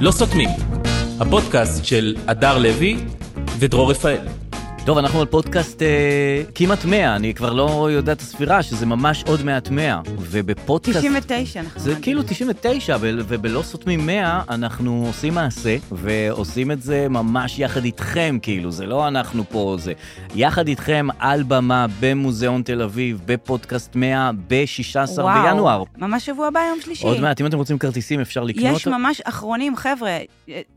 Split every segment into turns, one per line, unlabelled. לא סותמים, הפודקאסט של הדר לוי ודרור רפאל.
טוב, אנחנו על פודקאסט אה, כמעט 100, אני כבר לא יודע את הספירה, שזה ממש עוד מעט 100. ובפודקאסט...
99, אנחנו...
זה
מעדיפים.
כאילו 99, ב- ובלא סותמים 100, אנחנו עושים מעשה, ועושים את זה ממש יחד איתכם, כאילו, זה לא אנחנו פה, זה יחד איתכם על במה במוזיאון תל אביב, בפודקאסט 100, ב-16
וואו,
בינואר.
ממש שבוע הבא, יום שלישי.
עוד מעט, אם אתם רוצים כרטיסים, אפשר לקנות.
יש ממש אחרונים, חבר'ה, אה,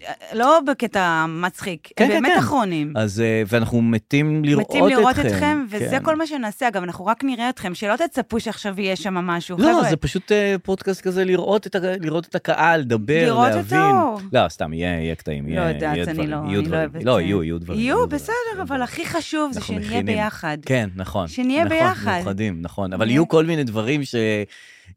אה, לא בקטע מצחיק,
כן,
הם
כן,
באמת
כן.
אחרונים.
אז, אה, ואנחנו מתים לראות אתכם.
מתים לראות אתכם, וזה
כן.
כל מה שנעשה, אגב, אנחנו רק נראה אתכם, שלא תצפו שעכשיו יהיה שם משהו,
לא,
חבר'ה.
זה פשוט אה, פודקאסט כזה, לראות את, ה- לראות את הקהל, לדבר,
לראות
להבין.
אותו.
לא, סתם, יהיה, יהיה קטעים,
לא
יהיה, יהיה
יודעת, אני
דברים,
לא
יהיו
אני לא
דברים.
אוהבת...
לא,
אה,
יהיו, יהיו דברים.
יהיו,
דברים.
בסדר, אבל הכי חשוב זה
אנחנו
שנהיה
מכינים.
ביחד.
כן, נכון.
שנהיה
נכון,
ביחד.
מאוחדים, נכון. אבל
נהיה-
יהיו כל מיני דברים ש...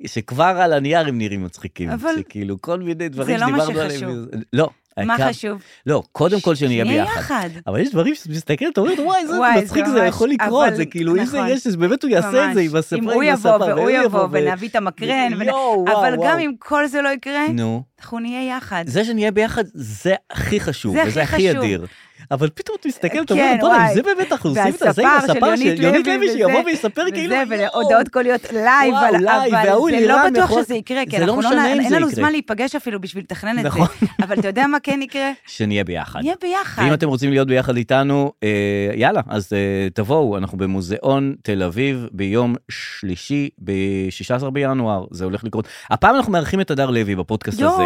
שכבר על הנייר הם נראים מצחיקים.
אבל-
זה כאילו כל מיני דברים
לא מה
שדיברנו עליהם.
שחשוב.
לא.
מה
העיקר-
חשוב?
לא, קודם כל שנהיה ביחד.
יחד.
אבל יש דברים שאת מסתכלת, אומרת, וואי, זה
וואי, זה
מצחיק, זה
ממש-
יכול לקרות,
אבל-
זה כאילו, אם זה
נכון.
יש, אז באמת הוא יעשה את זה עם
ממש.
הספר,
אם הוא
עם
יבוא,
הספה,
והוא יבוא, ונביא את המקרן, ונ-
יואו, וואו,
אבל גם
וואו.
אם כל זה לא יקרה,
נו.
אנחנו נהיה יחד.
זה שנהיה ביחד, זה הכי חשוב,
זה הכי
וזה הכי
חשוב.
אדיר. אבל פתאום את מסתכלת,
כן,
אומרת, בוא'נה,
וואי.
אם זה באמת אנחנו עושים את זה, זה עם
והספר של
הספר
יונית
של יונית
לוי
לוי,
וזה,
שיבוא ויספר כאילו,
וזה,
יואו.
ולהודעות קוליות לייב,
וואו,
אבל,
לייב,
אבל
וההוא
זה
לירן
לא בטוח
יכול-
שזה יקרה, כי
זה לא
אנחנו לא,
משנה אם
אין
זה
לנו
יקרה.
זמן להיפגש אפילו בשביל לתכנן את
נכון.
זה. אבל אתה יודע מה כן יקרה?
שנהיה ביחד.
נהיה ביחד.
ואם אתם רוצים להיות ביחד איתנו, אה, יאללה, אז אה, תבואו, אנחנו במוזיאון תל אביב ביום שלישי, ב-16 בינואר, זה הולך לקרות. הפעם אנחנו מארחים את הדר לוי בפודקאסט הזה.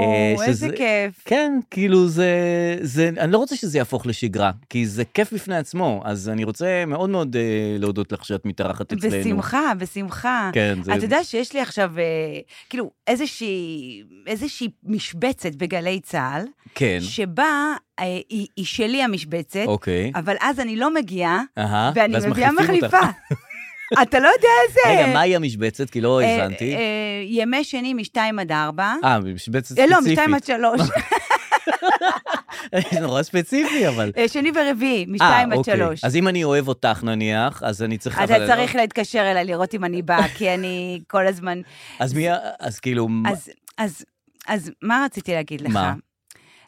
אה,
יואו, איזה
שזה-
כיף.
כן, כאילו זה, זה, אני לא רוצה שזה יהפוך לשגרה, כי זה כיף בפני עצמו, אז אני רוצה מאוד מאוד אה, להודות לך שאת מתארחת אצלנו.
בשמחה, בשמחה.
כן, זה...
אתה יודע שיש לי עכשיו, אה, כאילו, איזושהי, איזושהי משבצת בגלי צה"ל,
כן,
שבה אה, היא, היא שלי המשבצת,
אוקיי.
אבל אז אני לא מגיעה,
אהה,
ואני
ואז
מביאה
מחליפים אה, אותך.
מחליפה. אתה לא יודע איזה...
רגע, מהי המשבצת? כי לא
אה,
האזנתי.
אה, ימי שני משתיים עד ארבע.
אה, משבצת
אה,
ספציפית.
לא, משתיים עד שלוש.
זה נורא ספציפי, אבל...
אה, שני ורביעי,
אה,
משתיים עד
אוקיי.
שלוש.
אז אם אני אוהב אותך, נניח, אז אני צריך...
אתה
אבל-
צריך להתקשר אליי לראות אם אני באה, כי אני כל הזמן...
אז מי... ה- אז כאילו... מה-
אז- אז- אז מה רציתי להגיד לך?
מה?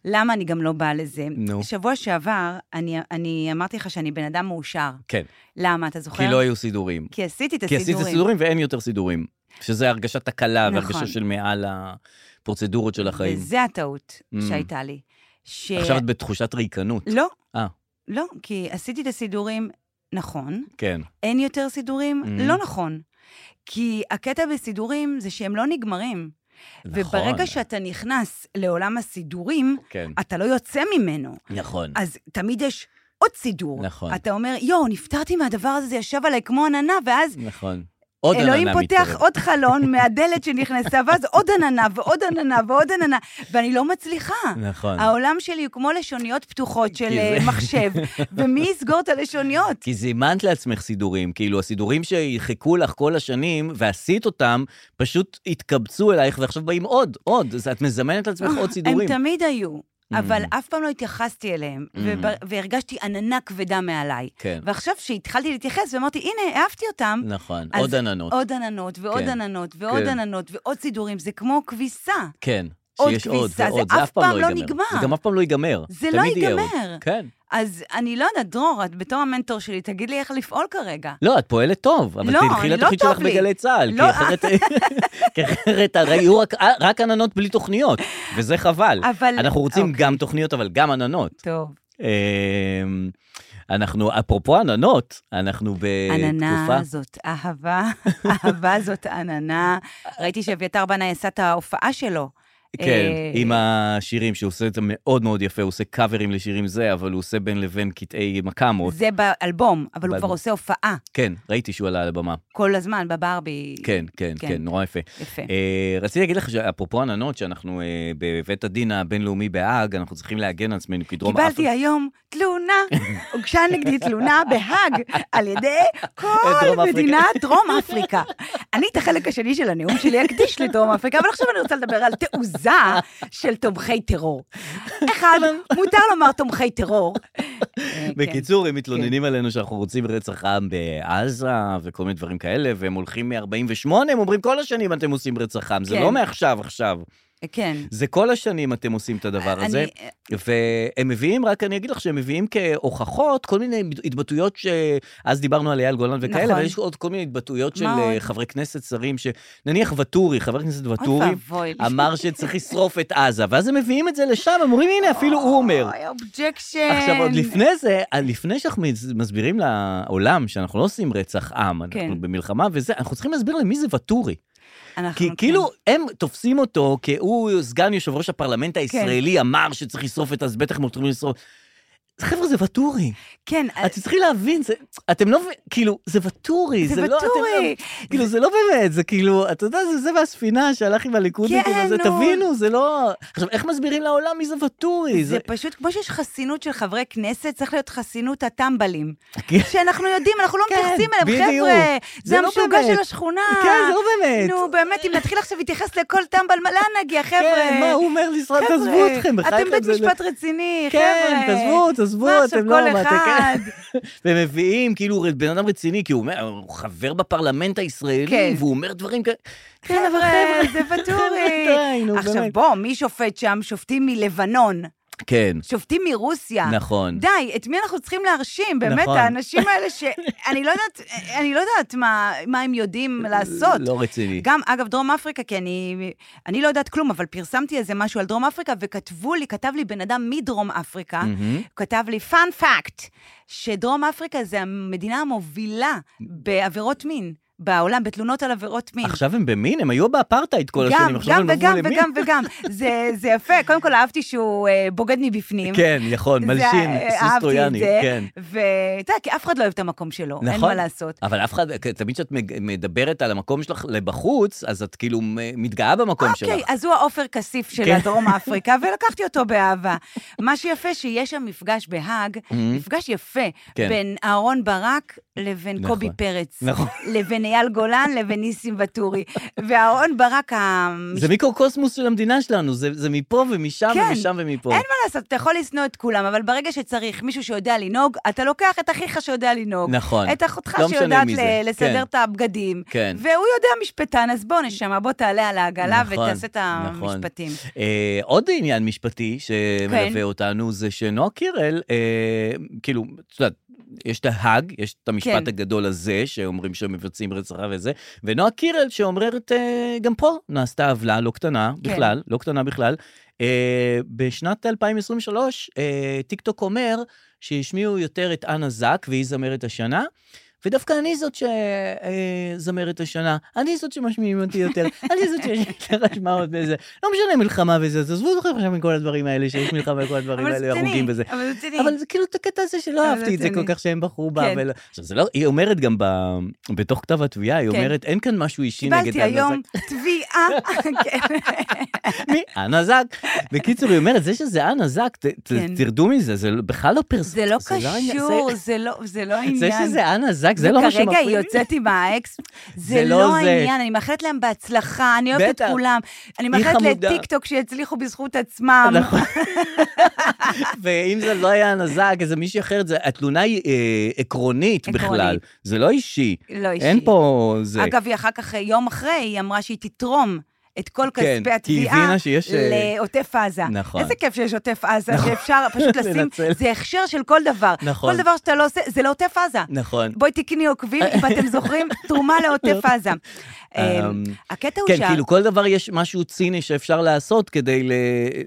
למה אני גם לא באה לזה?
נו.
שבוע שעבר, אני- אני אמרתי לך שאני בן אדם מאושר.
כן,
למה, אתה זוכר?
כי לא היו סידורים.
כי עשיתי את
כי עשית
הסידורים.
סידורים ואין יותר סידורים. שזה הרגשת תקלה
נכון.
והרגשה של מעל הפרוצדורות של החיים.
וזה הטעות
Mm.
שהייתה לי. ש...
עכשיו את בתחושת ריקנות.
לא.
אה.
לא, כי עשיתי את הסידורים נכון,
כן.
אין יותר סידורים,
Mhm.
לא נכון. כי הקטע בסידורים זה שהם לא נגמרים.
נכון.
וברגע שאתה נכנס לעולם הסידורים,
כן.
אתה לא יוצא ממנו.
נכון.
אז תמיד יש עוד סידור.
נכון.
אתה אומר, יואו, נפטרתי מהדבר הזה, זה ישב עליי כמו עננה, ואז
נכון. עוד עננה
אלוהים פותח
מתקרבת.
עוד חלון מהדלת שנכנסה, ואז עוד עננה ועוד עננה ועוד עננה, ואני לא מצליחה.
נכון.
העולם שלי הוא כמו לשוניות פתוחות של
כי
אה,
זה-
מחשב, ומי יסגור את הלשוניות?
כי זימנת לעצמך סידורים, כאילו הסידורים שיחכו לך כל השנים ועשית אותם, פשוט התקבצו אלייך ועכשיו באים עוד, עוד. אז את מזמנת לעצמך עוד סידורים.
אה, הם תמיד היו, אבל
Mm.
אף פעם לא התייחסתי אליהם,
Mm.
וב- והרגשתי עננה כבדה מעליי.
כן,
ועכשיו שהתחלתי להתייחס ואמרתי, הנה, אהבתי אותם,
נכון.
אז
עוד עננות.
עוד עננות ועוד
כן.
עננות ועוד
כן.
עננות ועוד סידורים, זה כמו כביסה.
כן.
עוד
שיש עוד
כביסה, זה
ועוד, זה אף פעם לא ייגמר.
נגמר.
זה גם אף פעם לא ייגמר.
זה לא
תמיד יהיה עוד.
ייגמר.
כן.
אז אני לא יודעת, דרור, את בתור המנטור שלי, תגיד לי איך לפעול כרגע.
לא, את פועלת טוב, אבל
לא,
תלכי
אני לא
לתוכנית
טוב
שלך
לי.
בגלי צה"ל, כי
לא,
אחרת- כי אחרת יהיו רק- רק עננות בלי תוכניות, וזה חבל.
אבל...
אנחנו רוצים
אוקיי,
גם תוכניות, אבל גם עננות.
טוב,
אמ, אנחנו, אפרופו עננות, אנחנו
עננה
בתקופה...
זאת אהבה, אהבה זאת עננה. ראיתי שאביתר בנאי עשה את ההופעה שלו.
כן,
אה,
עם השירים, שהוא עושה את זה מאוד מאוד יפה, הוא עושה קאברים לשירים זה, אבל הוא עושה בין לבין קטעי מקאמות.
זה באלבום, אבל הוא
באלבום.
כבר עושה הופעה
כן, ראיתי שהוא עלה על הבמה.
כל הזמן בברבי.
כן, כן,
כן.
כן, נורא יפה.
יפה.
אה, רציתי להגיד לך שאפרופו עננות, שאנחנו אה, בבית הדין הבינלאומי בהאג, אנחנו צריכים להגן על עצמנו כדרום
קיבלתי היום תלונה, הוגשה נגדי תלונה בהאג על ידי כל
אה, דרום אפריקה.
מדינת דרום אפריקה. אני את החלק השני של הנאום שלי אקדיש לדרום אפריקה, אבל עכשיו אני רוצה לדבר על תעוזה של תומכי טרור. אחד, מותר לומר תומכי טרור. אה, כן.
בקיצור, הם מתלוננים עלינו שאנחנו רוצים רצח עם בעזה וכל מיני דברים כאלה, והם הולכים מ-48, הם אומרים כל השנים אתם עושים רצח עם, זה
כן.
לא מעכשיו עכשיו.
כן.
זה כל השנים אתם עושים את הדבר הזה,
אני- אה,
והם מביאים, רק אני אגיד לך שהם מביאים כהוכחות כל מיני התבטאויות שאז דיברנו על אייל גולן וכאלה,
נכון.
אבל יש עוד כל מיני התבטאויות של
מה
אה,
עוד?
חברי כנסת, שרים, שנניח ואטורי, חבר הכנסת
אוי
ואטורי,
ואבוי. לי.
אמר שצריך לשרוף את עזה, ואז הם מביאים את זה לשם, אומרים, הנה, אפילו הוא אומר.
אוי, אובג'קשן.
עכשיו, עוד לפני זה, אה, לפני שאנחנו מסבירים לעולם שאנחנו לא עושים רצח עם, אנחנו
כן.
במלחמה וזה, אנחנו צריכים להסביר להם מי זה ואטורי.
אנחנו-
כי
כן.
כאילו, הם תופסים אותו כהוא סגן יושב ראש הפרלמנט
כן.
הישראלי, אמר שצריך לשרוף את אז בטח מותרים לשרוף. חבר'ה, זה ואטורי.
כן,
את צריכים להבין, זה- אתם לא, כאילו, זה ואטורי.
זה אה,
לא- אתם-
ואטורי.
כאילו, זה לא באמת, זה כאילו, אתה יודע, זה זה והספינה שהלך עם הליכודניקים
כן,
הזה,
נו.
תבינו, זה לא... עכשיו, איך מסבירים לעולם מי זה ואטורי?
זה פשוט, כמו שיש חסינות של חברי כנסת, צריך להיות חסינות הטמבלים.
כן.
שאנחנו יודעים, אנחנו לא
כן,
מתייחסים אליהם,
בדיוק.
חבר'ה,
זה
זה
לא
המשוגע
באמת.
של השכונה.
כן, זה לא באמת.
נו, באמת, אם נתחיל עכשיו להתייחס לכל טמבל, מה- לאן נגיע, חבר'ה?
כן, מה, הוא אומר לי, "ישראל, תעזבו
חבר'ה,
אתכם, בחייכם.
אתם בית
זה לא-"
משפט רציני, חבר'ה.
כן, תעזבו, תעזבו,
מה עכשיו
אתם לא
כל
אמרתם,
אחד?
כן. ומביאים, כאילו, בן אדם רציני, כי הוא אומר, הוא חבר בפרלמנט הישראלי,
כן.
והוא אומר דברים כאלה. כן, אבל
חבר'ה,
חבר'ה,
זה ואטורי.
די, נו,
עכשיו
באמת.
בוא, מי שופט שם? שופטים מלבנון,
כן,
שופטים מרוסיה.
נכון.
די, את מי אנחנו צריכים להרשים? באמת,
נכון.
האנשים האלה ש... אני לא יודעת, אני לא יודעת מה, מה הם יודעים לעשות.
לא רציני.
גם, אגב, דרום אפריקה, כי אני, אני לא יודעת כלום, אבל פרסמתי איזה משהו על דרום אפריקה, וכתבו לי, כתב לי בן אדם מדרום אפריקה,
מהמם.
הוא כתב לי, פאן פאקט, שדרום אפריקה זה המדינה המובילה בעבירות מין בעולם, בתלונות על עבירות מין.
עכשיו הם במין? הם היו באפרטהייד כל
גם,
השנים, עכשיו
גם
הם עברו
וגם
למין?
וגם וגם, זה, זה יפה, קודם כל אהבתי שהוא אה, בוגד מבפנים.
כן, נכון,
זה-
מלשין,
אה,
סוס
אהבתי את
טרויאני,
זה.
כן.
ואתה יודע, כי אף אחד לא אוהב את המקום שלו, אין
נכון.
מה לעשות.
אבל אף אחד, תמיד כשאת מג- מדברת על המקום שלך לבחוץ, אז את כאילו מ- מתגאה במקום שלך.
אוקיי, אז הוא העופר כסיף של
כן.
הדרום אפריקה, ולקחתי אותו באהבה. מה שיפה, שיש שם מפגש בהאג, מפגש יפה,
Mm-hmm. כן.
בין אהרון ברק לבין
נכון.
קובי פרץ.
נכון.
לבין אייל גולן לבין ניסים ואטורי. ואהרון ברק, ה-
זה מיקרוקוסמוס של המדינה שלנו, זה זה מפה ומשם
כן.
ומשם ומפה.
אין מה לעשות, אתה יכול לשנוא את כולם, אבל ברגע שצריך מישהו שיודע לנהוג, אתה לוקח את אחיך שיודע לנהוג.
נכון.
אוקיי. את אחותך
לא משנה
שיודעת
מי זה,
ל-
כן.
לסדר את הבגדים.
כן.
והוא יודע משפטן, אז בוא נשמה, בוא תעלה על העגלה
נכון,
ותעשה את
נכון.
המשפטים.
אה, עוד עניין משפטי שמלווה
כן.
אותנו זה שנועה קירל, אה, כאילו, את יודעת, יש את ההאג, יש את המשפט
כן.
הגדול הזה, שאומרים שמבצעים רצחה וזה, ונועה קירל שאומרת, אה, גם פה נעשתה עוולה לא קטנה
כן.
בכלל, לא קטנה בכלל. אה, בשנת 2023, אה, טיקטוק אומר שהשמיעו יותר את אנה זק, והיא זמרת השנה. ודווקא אני זאת שזמרת השנה, אני זאת שמשמיעים אותי יותר, אני זאת שיש יותר השמעות וזה. לא משנה מלחמה וזה, אז עזבו אתכם עכשיו מכל הדברים האלה, שיש מלחמה וכל הדברים
אבל זה
האלה,
רציני,
הרוגים וזה.
אבל זה רציני.
אבל זה כאילו את הקטע הזה שלא
אבל
אהבתי את זה כל
רציני.
כך שהם בחרו בה.
כן.
אבל- עכשיו, זה לא, היא אומרת גם ב- בתוך כתב התביעה, היא
כן.
אומרת, אין כאן משהו אישי נגד
קיבלתי
אנה
היום
זק."
תביעה. כן.
מי? אנה זק. בקיצור, היא אומרת, זה שזה אנה זק, ת- ת-
כן.
תרדו מזה, זה לא- בכלל לא פרס...
זה לא
עניין-
קשור, זה לא- זה לא העניין.
זה שזה אנה זק, זה לא מה שמפריע לי.
וכרגע היא יוצאת עם האקס,
זה
זה
לא
לא
זה.
העניין, אני מאחלת להם בהצלחה, אני אוהבת את
בטח.
כולם. אני
היא
מאחלת
חמודה.
לטיקטוק שיצליחו בזכות עצמם.
נכון. ואם זה לא היה נזק, אז זה מישהי אחרת, זה- התלונה היא אה, עקרונית
עקרונית.
בכלל, זה לא אישי.
לא אישי.
אין פה זה.
אגב, היא אחר כך, יום אחרי, היא אמרה שהיא תתרום את כל
כן,
כספי
כי היא
התביעה
הבינה שיש, אה,
לעוטף עזה.
נכון.
איזה כיף שיש עוטף עזה, שאפשר פשוט לשים,
לנצל.
זה הכשר של כל דבר.
נכון.
כל דבר שאתה לא עושה, זה לעוטף עזה.
נכון.
בואי תקני עוקבים, אם אתם זוכרים, תרומה לעוטף עזה.
אמ,
הקטע הוא
לא. כן,
שה-
כאילו כל דבר יש משהו ציני שאפשר לעשות כדי ל-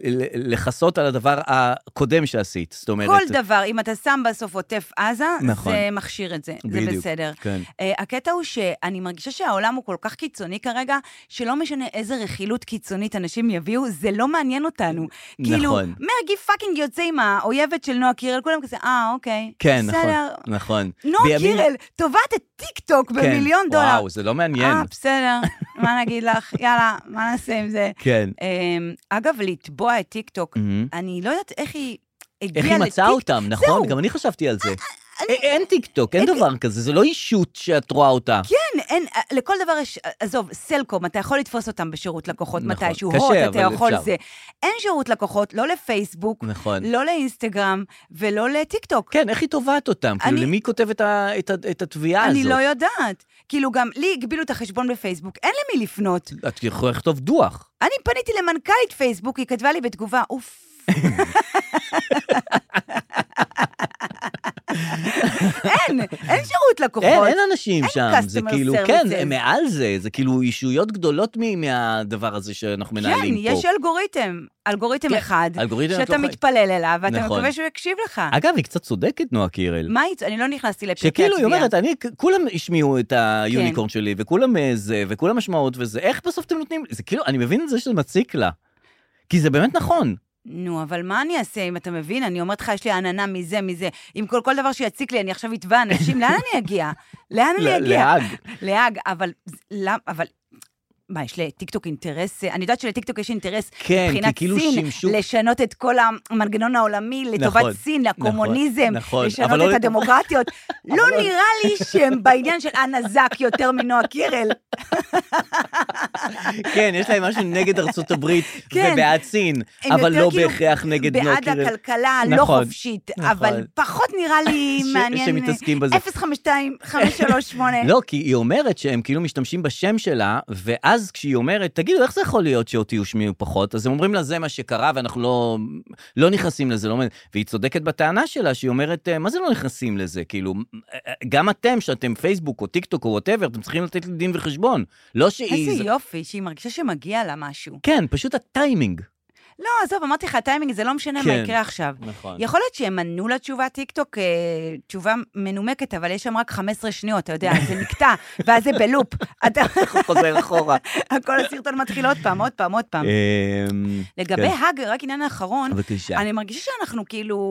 ל- לכסות על הדבר הקודם שעשית. זאת אומרת...
כל דבר, אם אתה שם בסוף עוטף עזה,
נכון.
זה מכשיר את זה, זה
בדיוק,
בסדר.
כן.
אה, הקטע הוא שאני מרגישה שהעולם הוא כל כך קיצוני כרגע, שלא משנה איזה רכילות קיצונית אנשים יביאו, זה לא מעניין אותנו. כאילו,
נכון.
מרגי פאקינג יוצא עם האויבת של נועה קירל, כולם כזה, אה, אוקיי,
כן, נכון,
בסדר.
נכון.
נועה
בימים-
קירל, תובעת את טיקטוק
כן,
במיליון דולר.
וואו, זה לא מעניין.
אה, בסדר, מה נגיד לך? יאללה, מה נעשה עם זה?
כן.
אמ, אגב, לתבוע את טיקטוק,
מהמם.
אני לא יודעת איך היא הגיעה
Mm-hmm. איך היא
לטיקטוק.
מצאה אותם, נכון?
זהו. אה,
גם אני חשבתי על זה. א- אין טיקטוק, אין דבר כזה, זה לא אישות שאת רואה אותה.
כן, אין, אה, לכל דבר יש, אה, עזוב, סלקום, אתה יכול לתפוס אותם בשירות לקוחות
נכון,
מתישהו,
קשה,
הוט, אתה
אבל
יכול
אפשר.
זה. אין שירות לקוחות, לא לפייסבוק,
נכון.
לא לאינסטגרם ולא לטיקטוק.
כן, איך היא תובעת אותם? כאילו,
אני-
למי כותב את ה- את ה- את התביעה הזאת?
אני לא יודעת. כאילו, גם לי הגבילו את החשבון בפייסבוק, אין למי לפנות.
את יכולה לכתוב דוח.
אני פניתי למנכ"לית פייסבוק, היא כתבה לי בתגובה, אוף. אין, אין שירות לקוחות.
אין, אין אנשים
אין
שם, זה
customer
כאילו,
services.
כן, הם מעל זה, זה כאילו אישויות גדולות מ- מהדבר הזה שאנחנו
כן,
מנהלים פה.
יש אלגוריתם, אלגוריתם
כן,
אחד,
אלגוריתם
שאתה
לוקח-
מתפלל אליו, ואתה
נכון.
מקווה שהוא יקשיב לך.
אגב, היא קצת צודקת, נועה קירל.
מה, היא- אני לא נכנסתי לפרקי התביעה.
שכאילו, היא אומרת, אני, כולם השמיעו את
כן.
היוניקורן שלי, וכולם אה, זה, וכולם משמעות וזה, איך בסוף אתם נותנים? זה כאילו, אני מבין את זה שזה מציק לה. כי זה באמת נכון.
נו, אבל מה אני אעשה אם אתה מבין? אני אומרת לך, יש לי עננה מזה, מזה. אם כל, כל דבר שיציק לי, אני עכשיו אתבע אנשים, לאן אני אגיע? לאן אני
ל-
אגיע?
להאג.
להאג, אבל... ז- למ- אבל... מה, יש לטיקטוק אינטרס? אה, אני יודעת שלטיקטוק יש אינטרס
כן, כי
מבחינת
כאילו
סין,
שימשו...
לשנות את כל המנגנון העולמי לטובת
נכון,
סין, לקומוניזם,
נכון,
לשנות
אבל
את
לא-
הדמוקרטיות. לא
אבל-
נראה לי שהם בעניין של אנה זק יותר מנועה קירל.
כן, יש להם משהו נגד ארצות הברית
כן.
ובעד סין,
הם
אבל
יותר
לא
כאילו
בהכרח נגד כאילו- נועה
בעד
קירל.
הכלכלה הלא
נכון,
חופשית,
נכון.
אבל פחות נראה לי
ש-
מעניין.
שמתעסקים בזה.
052 538
לא, כי היא אומרת שהם כאילו משתמשים בשם שלה, ואז כשהיא אומרת, תגידו, איך זה יכול להיות שאותי הושמיעו פחות? אז הם אומרים לה, זה מה שקרה, ואנחנו לא, לא נכנסים לזה, לא... מ-" והיא צודקת בטענה שלה, שהיא אומרת, "אה, מה זה לא נכנסים לזה? כאילו, אה, גם אתם, שאתם פייסבוק או טיק טוק או וואטאבר, אתם צריכים לתת לי דין וחשבון. לא שהיא...
איזה
זה-
יופי, שהיא מרגישה שמגיע לה משהו.
כן, פשוט הטיימינג.
לא, עזוב, אמרתי לך, הטיימינג זה לא משנה מה
כן.
יקרה עכשיו.
נכון.
יכול להיות שהם ענו לתשובה טיקטוק, אה, תשובה מנומקת, אבל יש שם רק 15 שניות, אתה יודע, זה נקטע, ואז זה בלופ. אתה-
חוזר אחורה.
כל הסרטון מתחיל עוד פעם, עוד פעם, עוד פעם.
אמ,
לגבי
כן.
האג, רק עניין האחרון,
בבקשה.
אני מרגישה שאנחנו כאילו,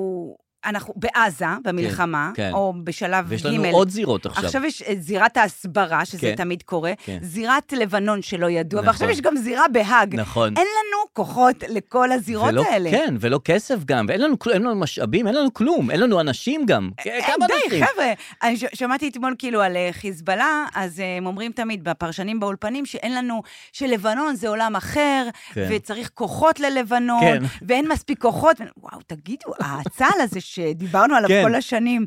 אנחנו בעזה, במלחמה,
כן.
או בשלב
ויש
ג',
לנו עוד זירות עכשיו.
עכשיו יש אה, זירת ההסברה, שזה
כן.
תמיד קורה,
כן.
זירת לבנון שלא ידוע,
נכון.
ועכשיו יש גם זירה בהאג.
נכון.
אין לנו כוחות לכל הזירות
ולא,
האלה.
כן, ולא כסף גם, ואין לנו, כל- אין לנו משאבים, אין לנו כלום, אין לנו אנשים גם.
אין,
אה, כמה
אה, די,
אנשים?
חבר'ה. אני ש- שמעתי אתמול כאילו על אה, חיזבאללה, אז אה, הם אומרים תמיד, בפרשנים באולפנים, שאין לנו, שלבנון זה עולם אחר,
כן.
וצריך כוחות ללבנון,
כן.
ואין מספיק כוחות. וואו, תגידו, הצה"ל הזה שדיברנו עליו
כן. אה,
כל השנים,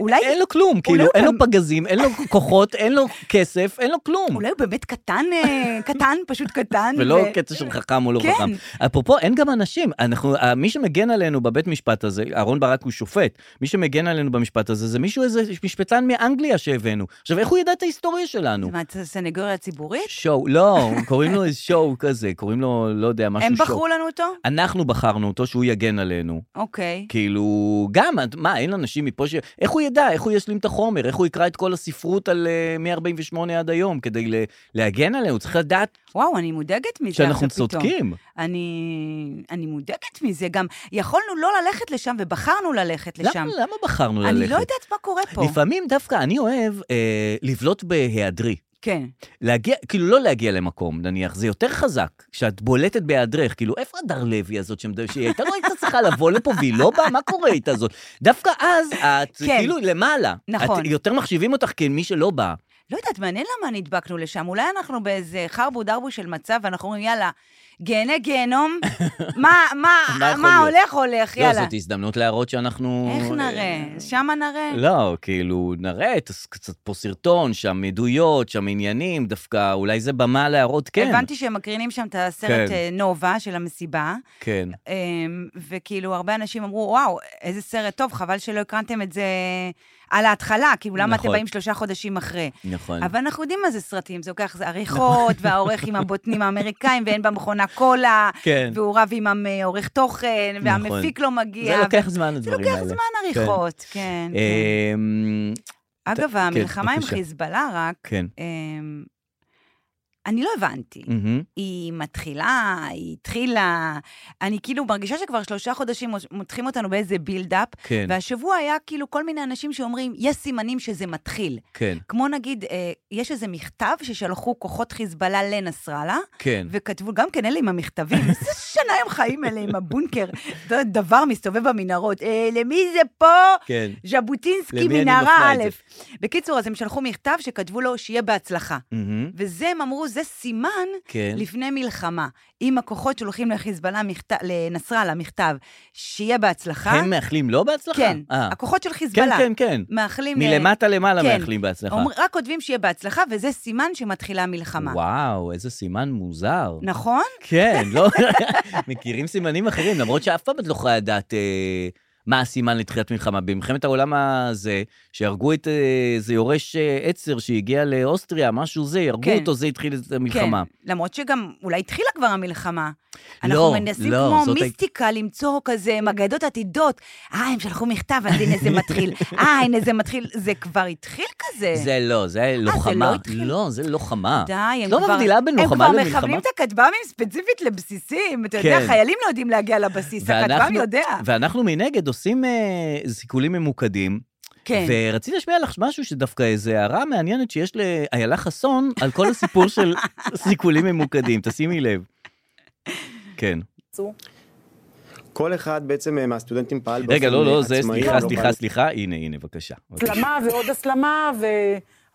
אולי
אין לו כלום, כאילו,
הוא
אין לו
גם-
פגזים, אין לו כוחות, אין לו כסף, אין לו כלום.
אולי הוא באמת קטן, אה, קטן, פשוט קטן.
ולא
ו-
קטע של חכם או לא
כן.
חכם. אפרופו, אין גם אנשים. אנחנו, אה, מי שמגן עלינו בבית משפט הזה, אהרן ברק הוא שופט, מי שמגן עלינו במשפט הזה זה מישהו, איזה משפטן מאנגליה שהבאנו. עכשיו, איך הוא ידע את ההיסטוריה שלנו?
מה, זה סנגוריה ציבורית?
שואו, לא, קוראים לו איזה שואו כזה, קוראים לו, לא יודע, משהו
הם
שואו.
בחרו לנו אותו?
אנחנו בחרנו אותו שהוא יגן עלינו.
אוקיי.
כאילו, גם, את- מה, אין אנשים מפה ש... איך הוא ידע? איך הוא ישלים את החומר? איך הוא יקרא את כל הספרות על אה, מ-48 עד היום כדי ל- להגן עלינו? צריך לדעת
וואו, אני מודאגת מזה עכשיו
שאנחנו
פתאום.
צודקים.
אני, אני מודאגת מזה גם. יכולנו לא ללכת לשם ובחרנו ללכת לשם.
למה, למה בחרנו ללכת?
אני לא יודעת מה קורה פה.
לפעמים דווקא אני אוהב אה, לבלוט בהיעדרי.
כן.
להגיע, כאילו לא להגיע למקום, נניח, זה יותר חזק, כשאת בולטת בהיעדרך, כאילו, איפה הדר לוי הזאת שמד- שהיא הייתה לא הייתה צריכה לבוא לפה והיא לא באה, מה קורה איתה זאת? דווקא אז את
כן.
כאילו למעלה.
נכון.
את, יותר מחשיבים אותך כמי שלא באה.
לא יודעת, מעניין למה נדבקנו לשם. אולי אנחנו באיזה חרבו דרבו של מצב, ואנחנו אומרים, יאללה, גהנה גיהנום, מה, מה,
מה יכול
מה
להיות?
הולך הולך,
לא,
יאללה.
זאת הזדמנות להראות שאנחנו... אה,
איך נראה? שמה נראה?
לא, כאילו, נראה את הס- קצת פה סרטון, שם עדויות, שם עניינים, דווקא אולי זה במה להראות כן.
הבנתי שהם מקרינים שם את הסרט
כן.
אה, נובה של המסיבה,
כן.
אמ, וכאילו הרבה אנשים אמרו, וואו, איזה סרט טוב, חבל שלא הקרנתם את זה על ההתחלה, כאילו למה אתם
נכון.
באים שלושה חודשים אחרי?
נכון.
אבל אנחנו יודעים מה זה סרטים, זה לוקח זה עריכות, והעורך עם הבוטנים האמריקאים, ואין במכונה קולה,
כן.
והוא רב עם העורך תוכן,
נכון.
והמפיק לא מגיע.
זה לוקח זמן,
זה
הדברים
לוקח
האלה.
זמן עריכות, כן. כן.
אמ,
אגב, המלחמה עם
כן, בבקשה.
חיזבאללה רק,
כן.
אמ, אני לא הבנתי.
מהמם.
היא מתחילה, היא התחילה, אני כאילו מרגישה שכבר שלושה חודשים מותחים אותנו באיזה בילדאפ,
כן,
והשבוע היה כאילו כל מיני אנשים שאומרים, יש סימנים שזה מתחיל.
כן,
כמו נגיד, אה, יש איזה מכתב ששלחו כוחות חיזבאללה לנסראללה,
כן.
וכתבו, גם כן אלה עם המכתבים, איזה שנה הם חיים אלה עם הבונקר, אתה יודע, דבר מסתובב במנהרות, אה, למי זה פה?
כן.
ז'בוטינסקי
למי אני
מנהרה
מפנה את
א'.
זה?
בקיצור, אז הם שלחו מכתב שכתבו לו שיהיה בהצלחה.
מהמם.
וזה, הם אמרו, זה סימן
כן.
לפני מלחמה. אם הכוחות שהולכים לחיזבאללה, מכת... לנסראללה, מכתב, שיהיה בהצלחה.
הם מאחלים לא בהצלחה?
כן,
אה.
הכוחות של
כן,
חיזבאללה.
כן, כן.
מאחלים... אה,
מלמטה למעלה
כן.
מאחלים בהצלחה.
אומר, רק כותבים שיהיה בהצלחה, וזה סימן שמתחילה מלחמה.
וואו, איזה סימן מוזר.
נכון?
כן, לא, מכירים סימנים אחרים, למרות שאף פעם את לא יכולה לדעת אה, מה הסימן לתחילת מלחמה. במלחמת העולם הזה, שהרגו את אה, איזה יורש אה, עצר שהגיע לאוסטריה, משהו זה, הרגו
כן.
אותו, זה התחיל את המלחמה.
כן, למרות שגם אולי התחילה כבר המלחמה.
לא,
אנחנו מנסים
לא,
כמו
זאת הי-
מיסטיקה למצוא כזה מגדות עתידות. אה, הם שלחו מכתב, אז הנה זה מתחיל. אה, הנה זה מתחיל. זה כבר התחיל כזה.
זה לא, זה
כן. לא
לוחמה.
התחיל?
לא, זה לוחמה.
די, הם
לא
כבר...
מבדילה בין לוחמה
הם כבר
למלחמה.
מכוונים את הכטב"מים ספציפית לבסיסים. אתה יודע,
כן.
חיילים לא יודעים להגיע לבסיס, הכטב"ם
ואנחנו- לא-
יודע.
ואנחנו מנגד עושים אה, סיכולים ממוקדים,
כן.
ורציתי להשמיע לך משהו שדווקא איזה הערה מעניינת שיש לאיילה חסון על כל הסיפור של סיכולים ממוקדים, תשימי לב. כן.
כל אחד בעצם אה, מהסטודנטים פעל
רגע, לא, לא, זה,
עצמאי,
סליחה,
לא
סליחה,
פעל-
סליחה, הנה, הנה, בבקשה. בבקשה.
הסלמה ועוד הסלמה,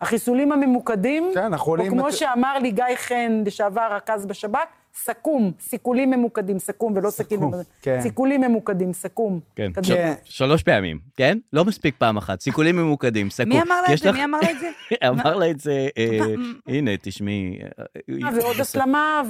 והחיסולים הממוקדים,
כן, אנחנו
או
עולים-
כמו שאמר לי גיא חן, לשעבר רכז בשב"כ, סכו"ם, סיכולים ממוקדים, סכו"ם ולא סכין,
סכו"ם, כן.
סיכולים ממוקדים, סכו"ם.
כן,
תדמי.
ש- שלוש פעמים, כן? לא מספיק פעם אחת, סיכולים ממוקדים, סקו.
מי אמר לה את
יש
זה?
לך-
מי אמר לה את זה?
אמר לה את זה, אה,
מה?
הנה, תשמעי. אה, אה,
ועוד הסלמה,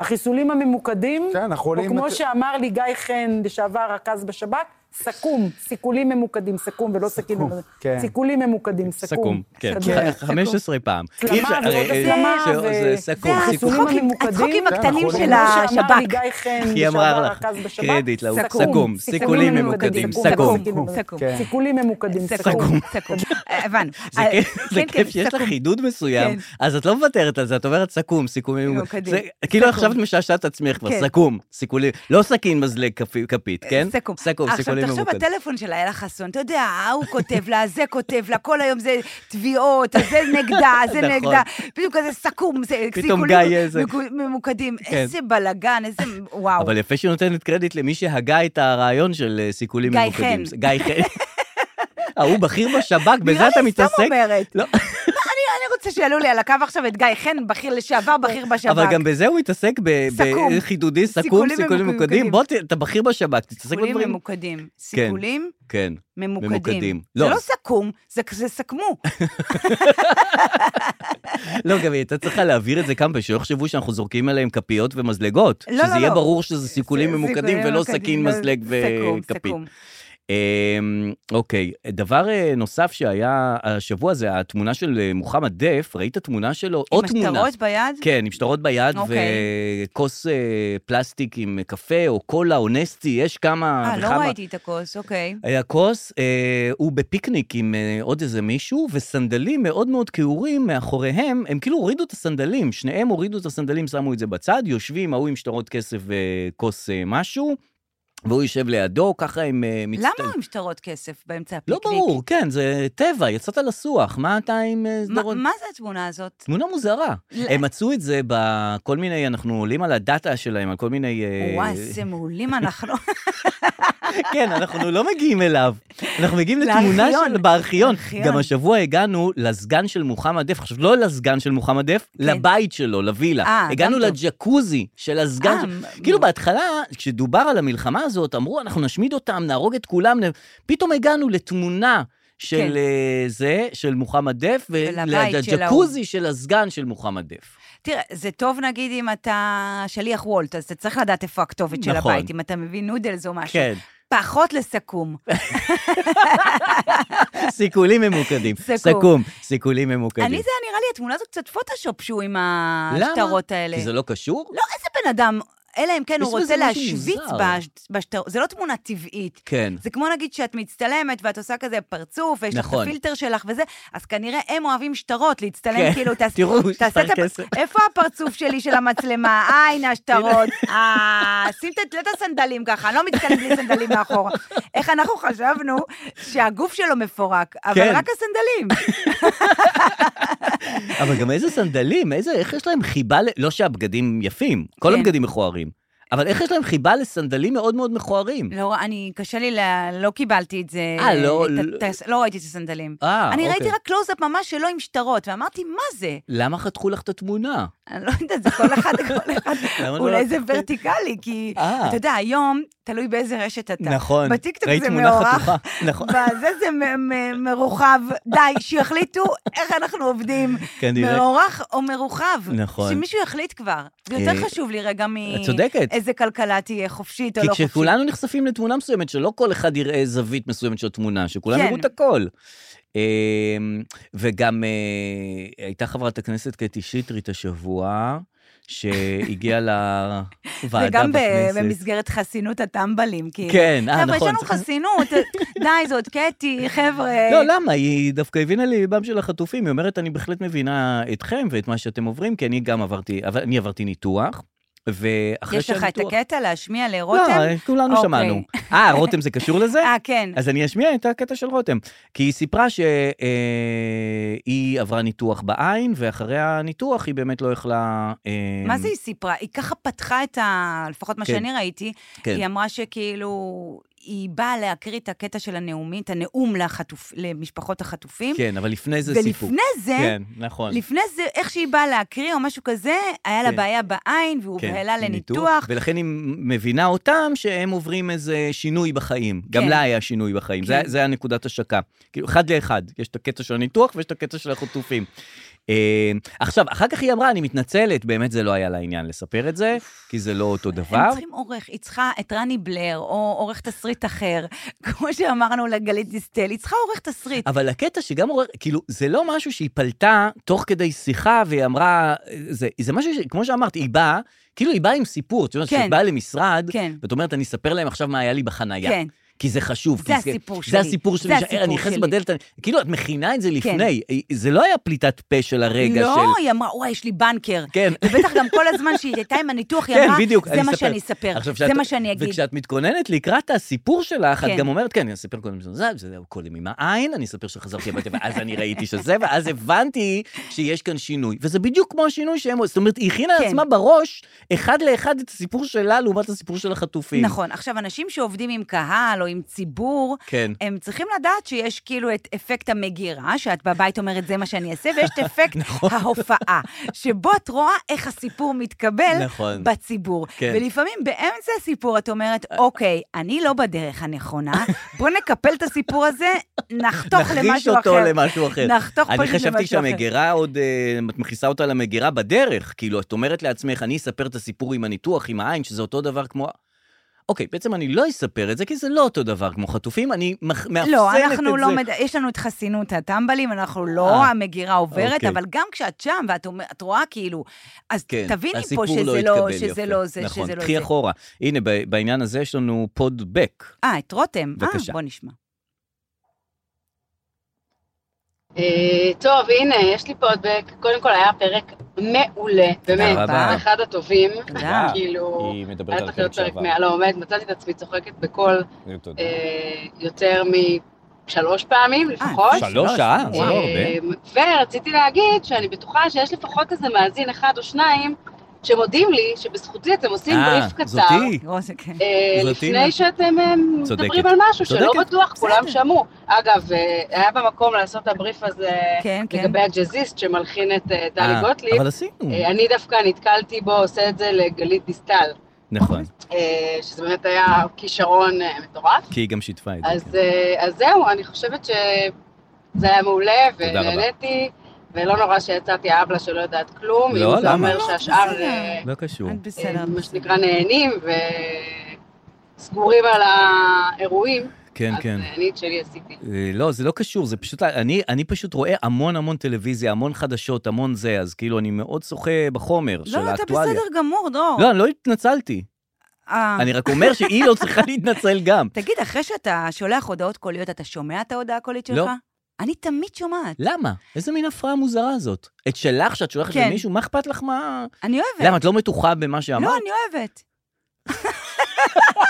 והחיסולים הממוקדים,
כן, אנחנו
או
עולים-
כמו שאמר לי גיא חן, לשעבר רכז בשב"כ, סכו"ם, סיכולים ממוקדים, סכו"ם ולא סכין,
כן.
סיכולים ממוקדים, סכו"ם.
סכו"ם, כן,
תדמי.
15 פעם.
הסלמה
אי אפשר,
ועוד
אה, אה,
הסלמה,
ש-
ו-
זה סכו"ם,
זה
סיכום.
הצחוקים
ממוקדים.
הצחוקים
כן,
הקטנים
אנחנו
של
עולים.
שאמר לי
השב"כ.
גיא חן,
היא נכון. אמרה
לשעבר
לך,
רכז בשב"כ,
קרדיט להוא,
סכו"ם,
סכו"ם, סיכולים ממוקדים, סכו"ם.
סכו"ם.
כן.
סיכולים ממוקדים,
סכו"ם. סכו"ם. אה, הבנו.
זה
אה,
כיף- זה
כן,
כיף
כן,
שיש לך
סכו"ם.
חידוד מסוים,
כן.
אז את לא מוותרת על זה, את אומרת סכו"ם, סיכומים.
ממוקדים.
זה- כאילו
סכו"ם.
עכשיו את משעשעת את עצמך כבר,
כן. אה,
סכו"ם, סיכולים, לא סכין מזלג כפי- כפית, כן?
סכו"ם.
סכו"ם, סיכולים
עכשיו, תחשוב,
ממוקדים.
הטלפון של איילה חסון, אתה יודע, ההוא כותב לה, זה כותב לה, כל היום זה תביעות, אז זה נגדה, אז זה
נכון.
נגדה, בדיוק כזה סכו"ם, זה
פתאום
סיכולים
גיא איזה-
מקו- ממוקדים.
כן.
איזה בלאגן, איזה, וואו.
אבל יפה שהיא נותנת קרדיט למי שהגה את הרעיון של אה, סיכולים
גיא
ממוקדים.
חן.
זה גיא חן. ההוא בכיר בשב"כ, בזה
נראה
אתה
לי סתם
מתעסק?
אומרת.
לא,
אני רוצה שיעלו לי על הקו עכשיו את גיא חן, בכיר לשעבר, בכיר בשב"כ.
אבל גם בזה הוא התעסק ב-
סכו"ם.
בחידודי סכו"ם,
סיכולים
סיכולים
ממוקדים.
ממוקדים. בוא, ת- אתה בכיר בשב"כ, תתעסק
סיכולים
בדברים.
ממוקדים. סיכולים
כן.
ממוקדים.
ממוקדים.
זה
לא.
לא סכו"ם, זה זה סכמו.
לא, גם היא הייתה צריכה להבהיר את זה כמה פעמים, שלא יחשבו שאנחנו זורקים עליהם כפיות ומזלגות.
לא, לא,
שזה יהיה
לא.
ברור שזה סיכולים
זה-
ממוקדים
סיכולים
ולא
ממוקדים,
סכין,
לא-
מזלג
סכו"ם,
וכפית.
סכו"ם.
אמ, אוקיי, דבר אה, נוסף שהיה השבוע זה התמונה של אה, מוחמד דף, ראית תמונה שלו? עוד תמונה.
עם השטרות ביד?
כן, עם שטרות ביד
אוקיי.
וכוס אה, פלסטיק עם קפה או קולה או נסטי, יש כמה
אה, לא
וכמה.
ראיתי את הכוס, אוקיי.
היה כוס, אה, הוא בפיקניק עם אה, עוד איזה מישהו, וסנדלים מאוד מאוד כעורים מאחוריהם, הם כאילו הורידו את הסנדלים, שניהם הורידו את הסנדלים, שמו את זה בצד, יושבים, ההוא עם שטרות כסף וכוס אה, משהו, והוא יושב לידו, ככה הם אה, מצט...
למה לא עם שטרות כסף באמצע
לא
הפיקניק?
ברור, כן, זה טבע, יצאת לסוח, מה אתה עם אה,
מה-
סדרות?
מה זה התמונה הזאת?
תמונה מוזרה.
ל-
הם מצאו את זה בכל מיני, אנחנו עולים על הדאטה שלהם, על כל מיני... אה,
וואי, איזה מעולים אנחנו.
כן, אנחנו לא מגיעים אליו. אנחנו מגיעים לתמונה
לארכיון.
של... בארכיון.
ארכיון.
גם השבוע הגענו לסגן של מוחמד דף, עכשיו לא לסגן של מוחמד דף,
כן.
לבית שלו, לווילה.
אה,
הגענו
גם טוב.
לג'קוזי של הסגן.
אה,
של-
מ-
כאילו בהתחלה, כשדובר על המלחמה הזאת, אמרו, אנחנו נשמיד אותם, נהרוג את כולם. נ- פתאום הגענו לתמונה. של
כן.
אה, זה, של מוחמד דף,
ולבית של
ולג'קוזי של הסגן של מוחמד דף.
תראה, זה טוב נגיד אם אתה שליח וולט, אז אתה צריך לדעת איפה הכתובת של
נכון.
הבית, אם אתה מביא נודלס או משהו.
כן.
פחות לסכו"ם.
סיכולים ממוקדים.
סכו"ם.
סכו"ם. סיכולים ממוקדים.
אני, זה נראה לי, התמונה הזאת קצת פוטושופ שהוא עם השטרות האלה.
למה? כי זה לא קשור?
לא, איזה בן אדם אלא אם כן הוא
יש בזה
רוצה
משהו
להשוויץ
מוזר.
בש- בשטר... זה לא תמונה טבעית.
כן.
זה כמו נגיד שאת מצטלמת ואת עושה כזה פרצוף, ויש לך
נכון.
את הפילטר שלך וזה, אז כנראה הם אוהבים שטרות, להצטלם
כן.
כאילו, תעשה-
תראו,
תעשה את
פרכסת.
הפ... איפה הפרצוף שלי של המצלמה? אה, הנה השטרות. אה, שים את- לא את הסנדלים ככה, אני לא מצטלמת בלי סנדלים מאחורה. איך אנחנו חשבנו שהגוף שלו מפורק,
כן.
אבל רק הסנדלים.
אבל גם איזה סנדלים, איזה, איך יש להם חיבה, ל... לא שהבגדים יפים, כל
כן.
הבגדים מכוערים, אבל איך יש להם חיבה לסנדלים מאוד מאוד מכוערים?
לא, אני, קשה לי, ל- לא קיבלתי את זה.
אה, לא-
את ה- את ה- לא ראיתי את הסנדלים.
אה,
אני ראיתי
אוקיי.
רק קלוזאפ ממש שלו עם שטרות, ואמרתי, מה זה?
למה חתכו לך את התמונה?
אני לא יודעת, זה כל אחד, כל אחד.
למה לא
אולי זה
לקחת?
ורטיקלי, כי
אה.
אתה יודע, היום תלוי באיזה רשת אתה.
נכון,
בטיקטוק
ראית
זה
תמונה
מאורך,
חתוכה, נכון.
בזה זה מ- מ- מרוחב. די, שיחליטו איך אנחנו עובדים.
כן, נראה-
מאורך או מרוחב.
נכון.
שמישהו יחליט כבר. זה
אה,
יותר חשוב לי רגע מ...
את צודקת.
איזה כלכלה תהיה חופשית או
כי
לא חופשית.
כשכולנו נחשפים לתמונה מסוימת, שלא כל אחד יראה זווית מסוימת של תמונה, שכולם
כן.
יראו את הכל. אמ, וגם אה, הייתה חברת הכנסת קטי שטרית השבוע, שהגיעה לוועדה בכנסת.
זה גם ב- במסגרת חסינות הטמבלים, כאילו.
כן, אה,
חבר'ה, יש
נכון,
לנו
צריך-
חסינות, די, זאת קטי, חבר'ה.
לא, למה? היא דווקא הבינה ליבם של החטופים. היא אומרת, אני בהחלט מבינה אתכם ואת מה שאתם עוברים, כי אני גם עברתי, אבל אני עברתי ניתוח, ואחרי
יש לך את
שהניתוח-
הקטע להשמיע לרותם?
לא, כולנו
אוקיי.
שמענו. אה, רותם זה קשור לזה?
אה, כן.
אז אני אשמיע את הקטע של רותם. כי היא סיפרה שהיא עברה ניתוח בעין, ואחרי הניתוח היא באמת לא יכלה... אה,
מה זה היא סיפרה? היא ככה פתחה את ה... לפחות מה
כן.
שאני ראיתי,
כן.
היא אמרה שכאילו... היא באה להקריא את הקטע של הנאומית, הנאום לחטופ... למשפחות החטופים.
כן, אבל לפני זה סיפור.
ולפני זה,
כן, נכון.
לפני זה, איך שהיא באה להקריא או משהו כזה, היה לה
כן.
בעיה בעין והובהלה
עם
לניתוח.
ולכן היא מבינה אותם שהם עוברים איזה שינוי בחיים. גם
כן.
לה היה שינוי בחיים, זה,
כן.
זה היה נקודת השקה. כאילו, אחד לאחד, יש את הקטע של הניתוח ויש את הקטע של החטופים. אה, עכשיו, אחר כך היא אמרה, אני מתנצלת, באמת זה לא היה לה עניין לספר את זה, כי זה לא אותו
הם
דבר.
צריכים עורך, היא צריכה את רני בלר, או עורך תסריט אחר. כמו שאמרנו לגלית דיסטל, היא צריכה עורך תסריט.
אבל הקטע שגם עורר, כאילו, זה לא משהו שהיא פלטה תוך כדי שיחה והיא אמרה, אה, זה, זה משהו שכמו שאמרת, היא באה, כאילו היא באה עם סיפור, את יודעת,
כן.
כשאת באה למשרד,
כן.
ואת אומרת, אני אספר להם עכשיו מה היה לי בחנייה.
כן.
כי זה חשוב.
זה
כי
הסיפור
זה
שלי.
הסיפור
זה
שלי. שאני- אני
הסיפור
נכנס
שלי. כן.
בדלת, אני- כאילו, את מכינה את זה לפני. זה לא היה פליטת פה של הרגע של...
לא, היא אמרה, וואי, יש לי בנקר.
כן.
ובטח גם כל הזמן שהיא הייתה עם הניתוח, היא
כן,
אמרה,
בדיוק,
זה מה
אספר."
שאני אספר,
עכשיו,
זה
כשאת-
מה שאני אגיד.
וכשאת מתכוננת לקראת הסיפור שלך, את
כן.
גם אומרת, כן, אני אספר קודם שזה, זה קודם עם העין, אני אספר שחזרתי הביתה, ואז אני ראיתי שזה, ואז הבנתי שיש כאן שינוי. וזה בדיוק כמו השינוי שהם עושים. זאת אומרת, היא הכינה
כן.
לעצמה בראש, אחד לאחד, את הסיפור שלה לעומת הסיפור של החטופים.
נכון, עכשיו, אנשים שעובדים עם קהל או עם ציבור,
כן.
הם צריכים לדעת שיש כאילו את אפקט המגירה, שאת בבית אומרת, זה מה שאני אעשה, ויש את אפקט
נכון.
ההופעה, שבו את רואה איך הסיפור מתקבל
נכון.
בציבור.
כן. אה.
ולפעמים באמצע הסיפור את אומרת, אוקיי, אני לא בדרך הנכונה, בוא נקפל את הסיפור הזה, נחתוך למשהו אחר.
נחריש אותו למשהו אחר.
נחתוך פשוט
אני
למשהו אחר.
חשבתי שהמגירה עוד, אה, את מכניסה אותה למגירה בדרך. כאילו, את אומרת לעצמך, אני אספר את הסיפור עם הניתוח, עם העין, שזה אותו דבר כמו... אוקיי, בעצם אני לא אספר את זה, כי זה לא אותו דבר כמו חטופים, אני מח- מאפסנת את זה.
לא, אנחנו לא, מד... יש לנו את חסינות הטמבלים, אנחנו לא,
אה,
המגירה עוברת,
אוקיי.
אבל גם כשאת שם ואת אומר- את רואה כאילו, אז
כן,
תביני פה
הסיפור
שזה לא,
התקבל,
שזה
יפה.
לא זה,
נכון,
שזה לא
קחי
זה.
אחורה. הנה, ב- בעניין הזה יש לנו פוד בק.
אה, את רותם.
בבקשה.
אה, בוא נשמע.
אה, טוב, הנה, יש לי פה עוד בק. קודם כל היה פרק מעולה, באמת, אה?
רבה.
אחד הטובים.
תודה.
כאילו,
היא
היה
מדברת על
צריך להיות
הפרק
פרק
שעבר.
מאה לעומד, מצאתי את עצמי צוחקת בקול
תודה.
אה, יותר משלוש פעמים לפחות.
אה, שלוש שעה? זה לא הרבה.
אה, ורציתי להגיד שאני בטוחה שיש לפחות איזה מאזין אחד או שניים שמודים לי שבזכותי אתם עושים
אה,
בריף קצר.
זאתי.
רוזק, כן.
אה,
זאתי.
לפני שאתם אה,
צודקת.
מדברים על משהו שלא
צודקת.
בטוח, כולם
בסדר.
שמעו. אגב, אה, היה במקום לעשות את הבריף הזה
כן, כן.
לגבי הג'אזיסט שמלחין את אה,
אה,
טלי גוטליב,
אבל עשינו.
אה, אני דווקא נתקלתי בו, עושה את זה לגלית דיסטל,
נכון,
אה, שזה באמת היה כישרון אה, מטורף.
כי היא גם שיתפה את זה.
אז אה, אז זהו, אני חושבת שזה היה מעולה,
תודה רבה.
ונהניתי, ולא נורא שיצאתי האבלה שלא יודעת כלום.
לא,
אם זה
למה?
אומר
לא,
שהשאר,
בסדר.
אה,
כן. לא קשור.
את בסדר.
מה שנקרא, נהנים וסגורים על האירועים.
כן, כן.
אז אה, אני את שלי עשיתי.
אה, לא, זה לא קשור, זה פשוט, אני, אני פשוט רואה המון המון טלוויזיה, המון חדשות, המון זה, אז כאילו, אני מאוד שוחה בחומר של
לא, אתה
האקטואליה.
בסדר גמור, דור.
לא, אני לא התנצלתי.
אה.
אני רק אומר שהיא לא צריכה להתנצל גם.
תגיד, אחרי שאתה שולח הודעות קוליות, אתה שומע את ההודעה הקולית שלך?
לא.
אני תמיד שומעת.
למה? איזה מין הפרעה מוזרה זאת? את שלך, שאת שולחת
כן.
למישהו, מה אכפת לך מה...
אני אוהבת.
למה, את לא מתוחה במה שאמרת?
לא, אני אוהבת.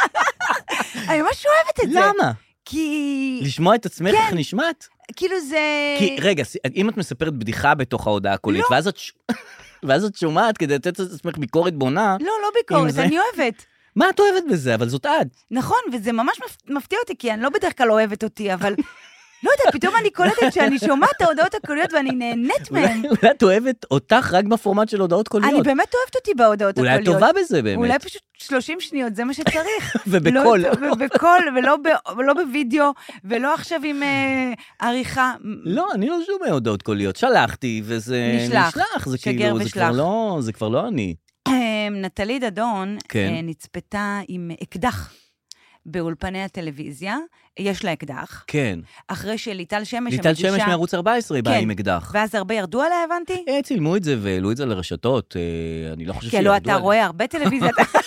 אני ממש אוהבת את זה.
למה?
כי...
לשמוע את עצמך,
כן.
איך נשמעת?
כאילו זה...
כי, רגע, ס- אם את מספרת בדיחה בתוך ההודעה הקולית,
לא.
ואז את... ש- ואז את שומעת כדי לתת לעצמך ביקורת בונה,
לא, לא ביקורת,
זה-
אני אוהבת.
מה את אוהבת בזה? אבל זאת את.
נכון, וזה ממש מפ- מפתיע אותי, כי אני לא בדרך כלל אוהבת אותי, אבל... לא יודעת, פתאום אני קולטת שאני שומעת את ההודעות הקוליות ואני נהנית
אולי
מהן.
אולי את אוהבת אותך רק בפורמט של הודעות קוליות.
כן. אני באמת אוהבת אותי בהודעות
אולי
הקוליות.
את טובה בזה באמת.
אולי פשוט 30 שניות, זה מה שצריך.
ובקול.
לא, ובקול, ולא ב- ולא בווידאו, ולא עכשיו עם אה, עריכה.
לא, אני לא שומע הודעות קוליות. שלחתי, וזה
נשלח.
נשלח. זה
שגר
כאילו, זה
ושלח.
כבר לא, זה כבר לא אני.
אה, נטלי דדון
כן.
אה, נצפתה עם אקדח באולפני הטלוויזיה, יש לה אקדח,
כן.
אחרי שליטל שמש,
ליטל
המגישה-
שמש מערוץ 14 באה
כן.
עם אקדח.
ואז הרבה ירדו עליה, הבנתי?
אה, צילמו את זה והעלו את זה לרשתות, אה, אני לא חושב
כי לא,
שירדו
אתה
על-
רואה הרבה טלוויזיה, אתה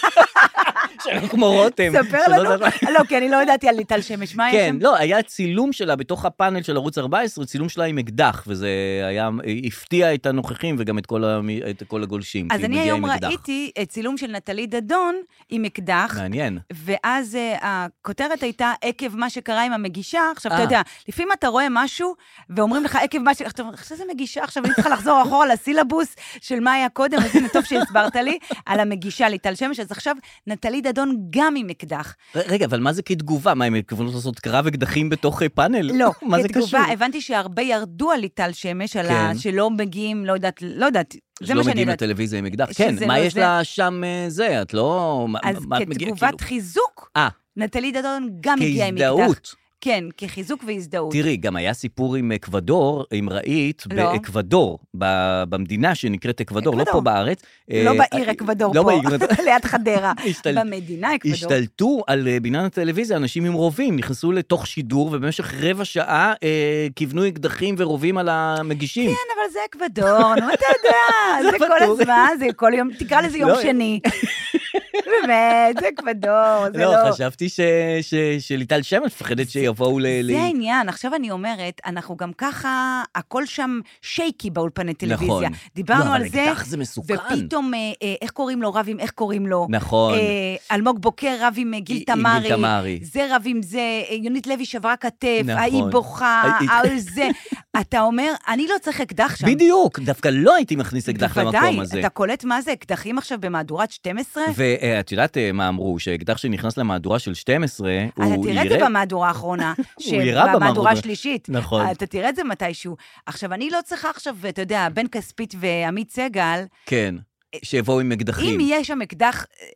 שלא כמו רותם.
מספר
שלא
לנו?
יודעת מה-
לא, כי אני לא ידעתי על ליטל שמש, מה היה
כן,
שם?
לא, היה צילום שלה בתוך הפאנל של ערוץ 14, צילום שלה עם אקדח, וזה היה, הפתיע את הנוכחים וגם את כל, המ... את כל הגולשים.
אז
כי היא
אני
מגיעה
היום
עם אקדח.
ראיתי אה, צילום של נטלי דדון עם אקדח,
מעניין.
ואז אה, הכותרת הייתה עקב מה שקרה עם המגישה. עכשיו, אתה
אה.
יודע, לפעמים אתה רואה משהו, ואומרים לך עקב מה ש... עכשיו, אתה אומר, "עכשיו זה מגישה, עכשיו אני צריכה לחזור אחורה לסילבוס של מה היה קודם, אז הנה, טוב שהסברת לי, על המגישה ליטל שמש. אז עכשיו, נטלי דדון גם עם אקדח.
ר- רגע, אבל מה זה כתגובה? מה, הם מתכוונות לעשות קרב אקדחים בתוך אה, פאנל?
לא,
מה זה קשור?
כתגובה, הבנתי שהרבה ירדו על ליטל שמש, על ה...
כן.
שלא מגיעים, לא יודעת, לא יודעת,
אז
זה
לא
מה שאני
מגיעים
יודעת.
לטלוויזיה עם אקדח.
שזה
כן,
לא
מה יש
זה.
לה שם אה, זה? את לא... מה-
אז
מה את מגיעה?
כתגובת
כאילו-
חיזוק,
אה,
נטלי דדון גם הגיעה עם אקדח.
כהזדהות.
כן, כחיזוק והזדהות.
תראי, גם היה סיפור עם אקוודור, אם ראית,
לא.
באקוודור, ב- במדינה שנקראת אקוודור, לא
אקוודור.
פה בארץ.
לא
אה,
בעיר אקוודור
לא
פה,
בעיר אקוודור.
ליד חדרה.
השתל-
במדינה אקוודור.
השתלטו על אה, בניין הטלוויזיה, אנשים עם רובים, נכנסו לתוך שידור, ובמשך רבע שעה אה, כיוונו אקדחים ורובים על המגישים.
כן, אבל זה אקוודור, נו, אתה יודע, זה כל
לא בטוח.
הזמן, זה כל יום, תקרא לזה יום
לא.
שני. באמת, זה אקוודור, זה לא...
חשבתי ש- ש- שליטל שמש מפחדת שיבואו ל... ל-
זה העניין, עכשיו אני אומרת, אנחנו גם ככה, הכל שם שייקי באולפני טלוויזיה.
נכון.
דיברנו
לא,
על
אבל
זה,
אקדח זה מסוכן.
ופתאום, אה, אה, איך קוראים לו, רב עם איך קוראים לו.
נכון.
אה, אלמוג בוקר רב עם אה, גיל
עם גיל
תמרי.
תמרי.
זה רב עם זה, אה, יונית לוי שברה כתף,
נכון.
ההיא בוכה,
ההיא-
ההוא זה. אתה אומר, אני לא צריך אקדח שם.
בדיוק, דווקא לא הייתי מכניס אקדח למקום הזה.
בוודאי, אתה קולט מה זה אקדחים עכשיו במהדורת 12?
ואת יודעת אה, מה אמרו, שאקדח שנכנס למהדורה של 12, הוא יראה...
אתה תראה את זה במהדורה האחרונה,
יירה
שבמהדורה
במהדורה.
השלישית.
נכון.
אתה תראה את זה מתישהו. עכשיו, אני לא צריכה עכשיו, אתה יודע, בן כספית ועמית סגל,
כן, שיבואו עם
אה, אם
אקדחים.
יהיה שם אקדח, אה,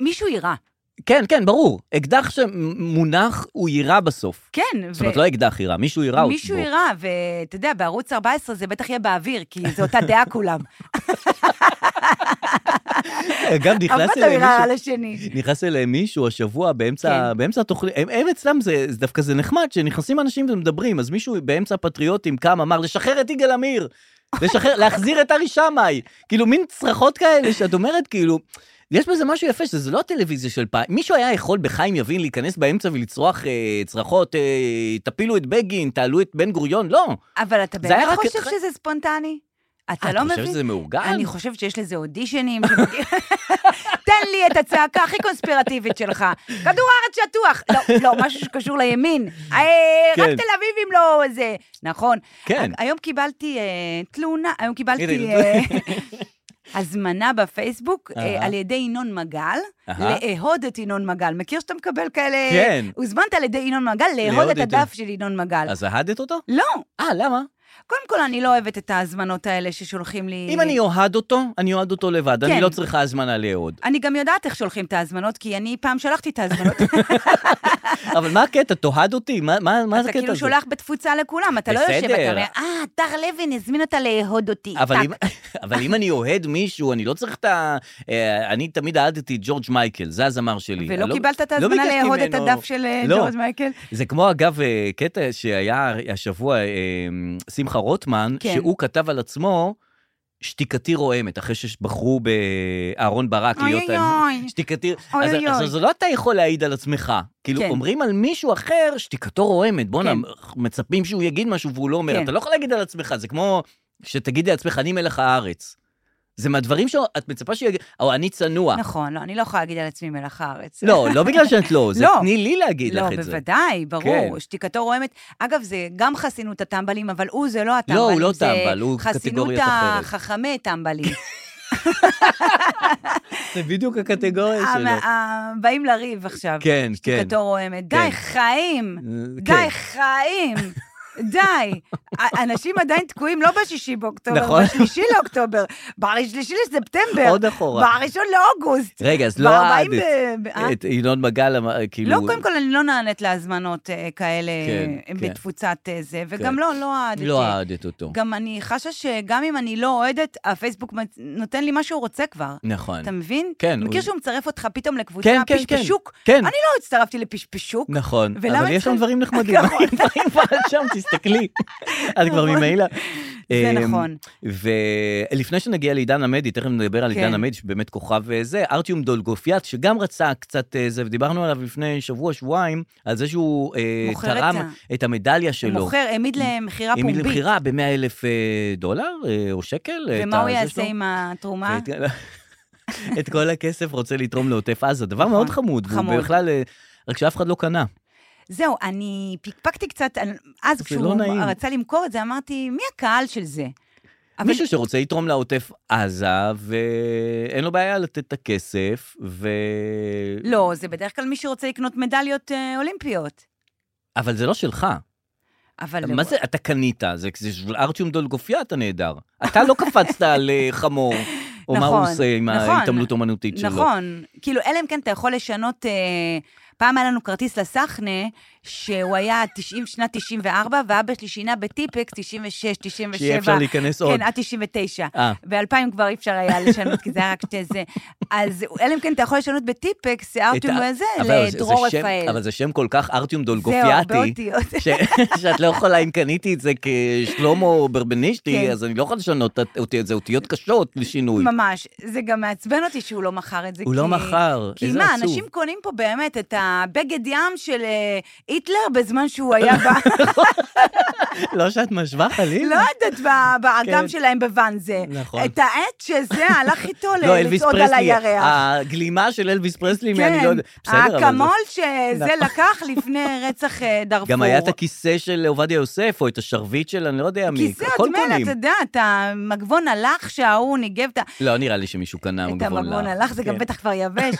מישהו יירה.
כן, כן, ברור. אקדח שמונח, הוא יירה בסוף.
כן.
זאת אומרת, לא אקדח יירה, מישהו יירה אותו.
מישהו יירה, ואתה יודע, בערוץ 14 זה בטח יהיה באוויר, כי זו אותה דעה כולם.
אה, גם
אבל
נכנס
לא
אליהם
יירה על
מישהו...
השני.
נכנס אליהם מישהו השבוע באמצע,
כן.
באמצע התוכנית, הם, הם אצלם זה, זה דווקא זה נחמד, שנכנסים אנשים ומדברים, אז מישהו באמצע הפטריוטים קם, אמר, לשחרר את יגאל עמיר, לשחרר, להחזיר את ארי שמאי, כאילו מין צרחות כאלה שאת אומרת, כאילו, יש בזה משהו יפה, שזה לא הטלוויזיה של פעם, מישהו היה יכול בחיים יבין להיכנס באמצע ולצרוח אה, צרחות, אה, תפילו את בגין, תעלו את בן גוריון, לא.
אבל אתה
זה
באמת
היה רק
חושב
אתכם.
שזה ספונטני? אתה
את
לא
חושבת
מבין?
שזה מאורגן?
אני חושבת שיש לזה אודישנים. שמגיע- תן לי את הצעקה הכי קונספירטיבית שלך. כדור הארץ שטוח. לא, לא, משהו שקשור לימין. אה, רק
כן.
תל אביבים לא זה. נכון.
כן.
ה- היום קיבלתי אה, תלונה, היום קיבלתי
הנה,
אה, הזמנה בפייסבוק אה,
אהה.
על ידי ינון מגל,
אהה.
לאהוד את ינון מגל. מכיר שאתה מקבל כאלה...
כן.
הוזמנת על ידי ינון מגל לאהוד
לאהוד
את
את-
הדף של ינון מגל.
אז אהדת אותו?
לא,
אה, למה?
קודם כל, אני לא אוהבת את ההזמנות האלה ששולחים לי...
אם אני אוהד אותו, אני אוהד אותו לבד,
כן.
אני לא צריכה הזמנה לאהוד.
אני גם יודעת איך שולחים את ההזמנות, כי אני פעם שלחתי את ההזמנות.
אבל מה הקטע? תאהד אותי? מה- מה מה זה הקטע
אתה
הזה?
כאילו שולח בתפוצה לכולם, אתה לא יושב,
בסדר.
אתה אומר, אה, דר לוין הזמין אותה לאהוד אותי.
אבל
טק.
אם, אבל אם אני אוהד מישהו, אני לא צריך את ה... אה, אני תמיד אהדתי את ג'ורג' מייקל, זה הזמר שלי.
ולא
אני
קיבלת את
לא
ההזמנה
ביקשתי
לאהוד את
ממנו-
הדף של אה,
לא.
ג'ורג' מייקל?
זה כמו, אגב, אה, קטע שהיה השבוע, אה, שמחה רוטמן,
כן.
שהוא כתב על עצמו, שתיקתי רועמת, אחרי שבחרו באהרון ברק
אוי,
להיות...
אוי,
ה-
אוי.
שתיקתי...
אוי,
אז-
אוי,
אז
אוי.
זה לא אתה יכול להעיד על עצמך. כאילו,
כן.
אומרים על מישהו אחר, שתיקתו רועמת. בואנה,
כן.
מצפים שהוא יגיד משהו והוא לא אומר.
כן.
אתה לא יכול להגיד על עצמך, זה כמו שתגיד לעצמך, אני מלך הארץ. זה מהדברים שאת מצפה שהוא יגיד, או אני צנוע.
נכון, לא, אני לא יכולה להגיד על עצמי מלח הארץ.
אה. לא, לא בגלל שאת לא, זה
לא.
תני לי להגיד לך
לא,
את זה.
בוודאי, ברור.
כן.
שתיקתו רועמת. אגב, זה גם חסינות הטמבלים, אבל הוא זה לא הטמבלים.
לא, הוא לא
זה
טמבל, הוא קטגוריית אחרת.
חסינות החכמי טמבלים.
זה בדיוק הקטגוריה
המ-
שלו.
ה- אה, באים לריב עכשיו.
כן, כן.
שתיקתו רועמת.
כן.
די, חיים.
כן.
די, חיים. די. ה- אנשים עדיין תקועים לא בשישי באוקטובר,
נכון.
בשלישי לאוקטובר, בשלישי לספטמבר.
עוד אחורה.
בראשון לאוגוסט.
רגע, אז לא
בארבעים
אהדת
ב- אה?
את ינון מגל, אמר, כאילו...
לא, קודם כל, אני לא נענית להזמנות אה, כאלה
כן,
אה,
כן.
בתפוצת אה, זה,
כן.
וגם לא, לא אהדתי.
לא אהדת אותו.
גם אני חשה שגם אם אני לא אוהדת, הפייסבוק מצ- נותן לי מה שהוא רוצה כבר.
נכון.
אתה מבין?
כן,
מכיר
הוא-
שהוא מצרף אותך פתאום לקבוצה
כן, כן, כן.
פשפשוק?
כן.
אני לא הצטרפתי לפשפשוק.
נכון,
ולמה
אבל יש
צריך-
שם דברים נחמדים, דברים כבר את שם, תסתכלי. את כבר
נכון.
ממילא.
זה
אמ,
נכון.
ולפני שנגיע לעידן עמדי, תכף נדבר על
כן.
עידן עמדי, שבאמת כוכב אה, זה, ארטיום דולגופיאט, שגם רצה קצת אה, זה, ודיברנו עליו לפני שבוע, שבועיים, על זה שהוא אה,
מוכר את
תרם
ה-
את המדליה
הוא
שלו.
מוכר, העמיד למכירה
לא. העמיד
פומבית.
למכירה ב-100 אלף דולר אה, או שקל. אה, את
ומה הוא
הזה
יעשה
שלו.
עם התרומה?
ואת- את כל הכסף רוצה לתרום לעוטף עזה, דבר
נכון,
מאוד חמוד, והוא
חמוד.
בכלל, אה, רק שאף אחד לא קנה.
זהו, אני פקפקתי קצת, על- אז
זה
כשהוא
לא נעים.
רצה למכור את זה, אמרתי, מי הקהל של זה? אבל-
מישהו שרוצה לתרום לעוטף עזה, ואין לו בעיה לתת את הכסף, ו...
לא, זה בדרך כלל מי שרוצה לקנות מדליות אה, אולימפיות.
אבל זה לא שלך.
אבל...
מה זה, אתה קנית, זה זה של ארטיום דולגופיאט הנהדר. אתה לא קפצת על אה, חמור, או מה הוא
נכון,
עושה עם
נכון.
ההתעמלות האומנותית שלו.
נכון, כאילו, אלא אם כן אתה יכול לשנות... אה, פעם היה לנו כרטיס לסחנה, שהוא היה 90, שנת 94, ואבא שלי שינה בטיפקס 96, 97.
שיהיה אפשר להיכנס עוד.
כן, עד 99.
אה.
ב-2000 כבר אי אפשר היה לשנות, כי זה היה רק שתי זה. אז אלא אם כן אתה יכול לשנות בטיפקס,
את
ארטיום
ה-
הזה,
אבל זה-
לדרור
זה שם-
רפאל.
אבל זה שם כל כך ארטיום
הרבה
דולגופיאטי,
אותיות.
ש- שאת לא יכולה, אם קניתי את זה כשלמה ברבנישתי,
כן.
אז אני לא יכולה לשנות את- אותי, את זה אותיות קשות לשינוי.
ממש. זה גם מעצבן אותי שהוא לא מכר את זה.
הוא לא
כי-
מכר,
כי
איזה
מה,
עצוב.
אנשים קונים פה באמת את הבגד ים של אה, היטלר בזמן שהוא היה ב...
לא שאת משווה חלילה.
לא יודעת, ב- באגם
כן.
שלהם בוואנזה.
נכון.
את העט שזה הלך איתו ל-
לא, אלוויס
לצעוד על
פרסלי,
הירח.
הגלימה של אלוויס פרסלי, אני לא
כן,
יודע, בסדר, אבל זה...
האקמול שזה
נכון.
לקח לפני רצח אה, דארפור.
גם היה את הכיסא של עובדיה יוסף, או את השרביט של אני לא יודע מי,
כי זה,
הכל
עוד מילא,
קונים.
אתה יודע, את המגבון הלך שההוא ניגב את ה-
לא, נראה לי שמישהו קנה
את
מגבון
המגבון
לה.
הלך, זה גם
כן.
בטח כבר יבש.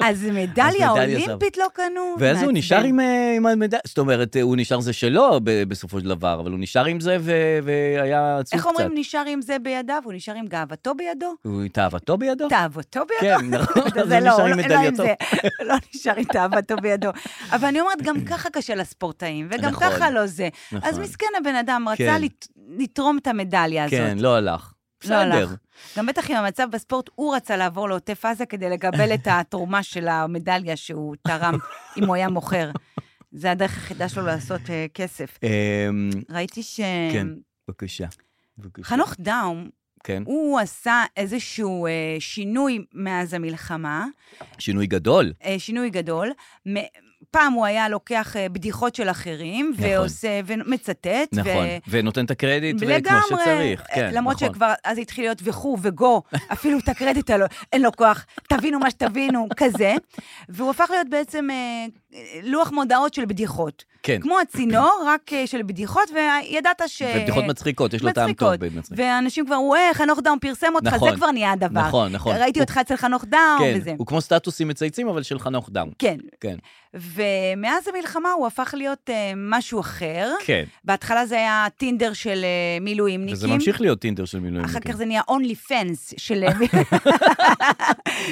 אז
מדליה
מדליה
זהב.
אולימפית לא קנו.
ואז הוא
מעצבן.
נשאר עם, אה, עם המדע, זאת אומרת, אה, הוא נשאר זה שלו ב- בסופו של דבר, אבל הוא נשאר עם זה ו- והיה עצוב קצת.
איך אומרים נשאר עם זה בידיו? הוא נשאר עם גאוותו בידו?
הוא תאוותו בידו?
תאוותו בידו?
כן, נכון, אז
זה
הוא
לא,
נשאר עם
הוא לא לא עם
מדלייתו.
זה, לא נשאר עם תאוותו בידו. אבל אני אומרת, גם ככה קשה לספורטאים, וגם
נכון,
ככה לא זה. אז
נכון.
מסכן הבן אדם רצה
כן.
לת- לתרום את המדליה הזאת.
כן, לא הלך.
לא
בסדר.
הלך. גם בטח עם המצב בספורט, הוא רצה לעבור לעוטף עזה כדי לקבל את התרומה של המדליה שהוא תרם, אם הוא היה מוכר. זה הדרך היחידה שלו לעשות אה, כסף.
אמ,
ראיתי ש...
כן. בבקשה. בבקשה.
חנוך דאום,
כן.
הוא עשה איזשהו אה, שינוי מאז המלחמה,
שינוי גדול.
אה, שינוי גדול. מ- פעם הוא היה לוקח אה, בדיחות של אחרים,
נכון.
ועושה, ומצטט.
נכון.
ו-
ונותן את הקרדיט ו- כמו
לגמרי,
שצריך.
אה,
כן,
למרות
נכון.
שכבר אז התחיל להיות וכו וגו, אפילו את הקרדיט הלא, אין לו כוח, תבינו מה שתבינו, כזה. והוא הפך להיות בעצם אה, אה, לוח מודעות של בדיחות.
כן.
כמו הצינור, רק אה, של בדיחות, וידעת ש...
ובדיחות מצחיקות, יש לו טעם טוב
מצחיקות.
במצחיק.
ואנשים כבר, וואי, חנוך דאום פרסם אותך,
נכון,
זה כבר נהיה הדבר.
נכון, נכון.
ראיתי
הוא-
אותך אצל חנוך דאום וזה.
כן, הוא כמו סטטוסים מצייצים, אבל של חנוך דאום.
כן.
כן.
ומאז המלחמה הוא הפך להיות אה, משהו אחר.
כן.
בהתחלה זה היה טינדר של אה, מילואימניקים.
וזה ממשיך להיות טינדר של מילואימניקים.
אחר כך זה נהיה אונלי פנס של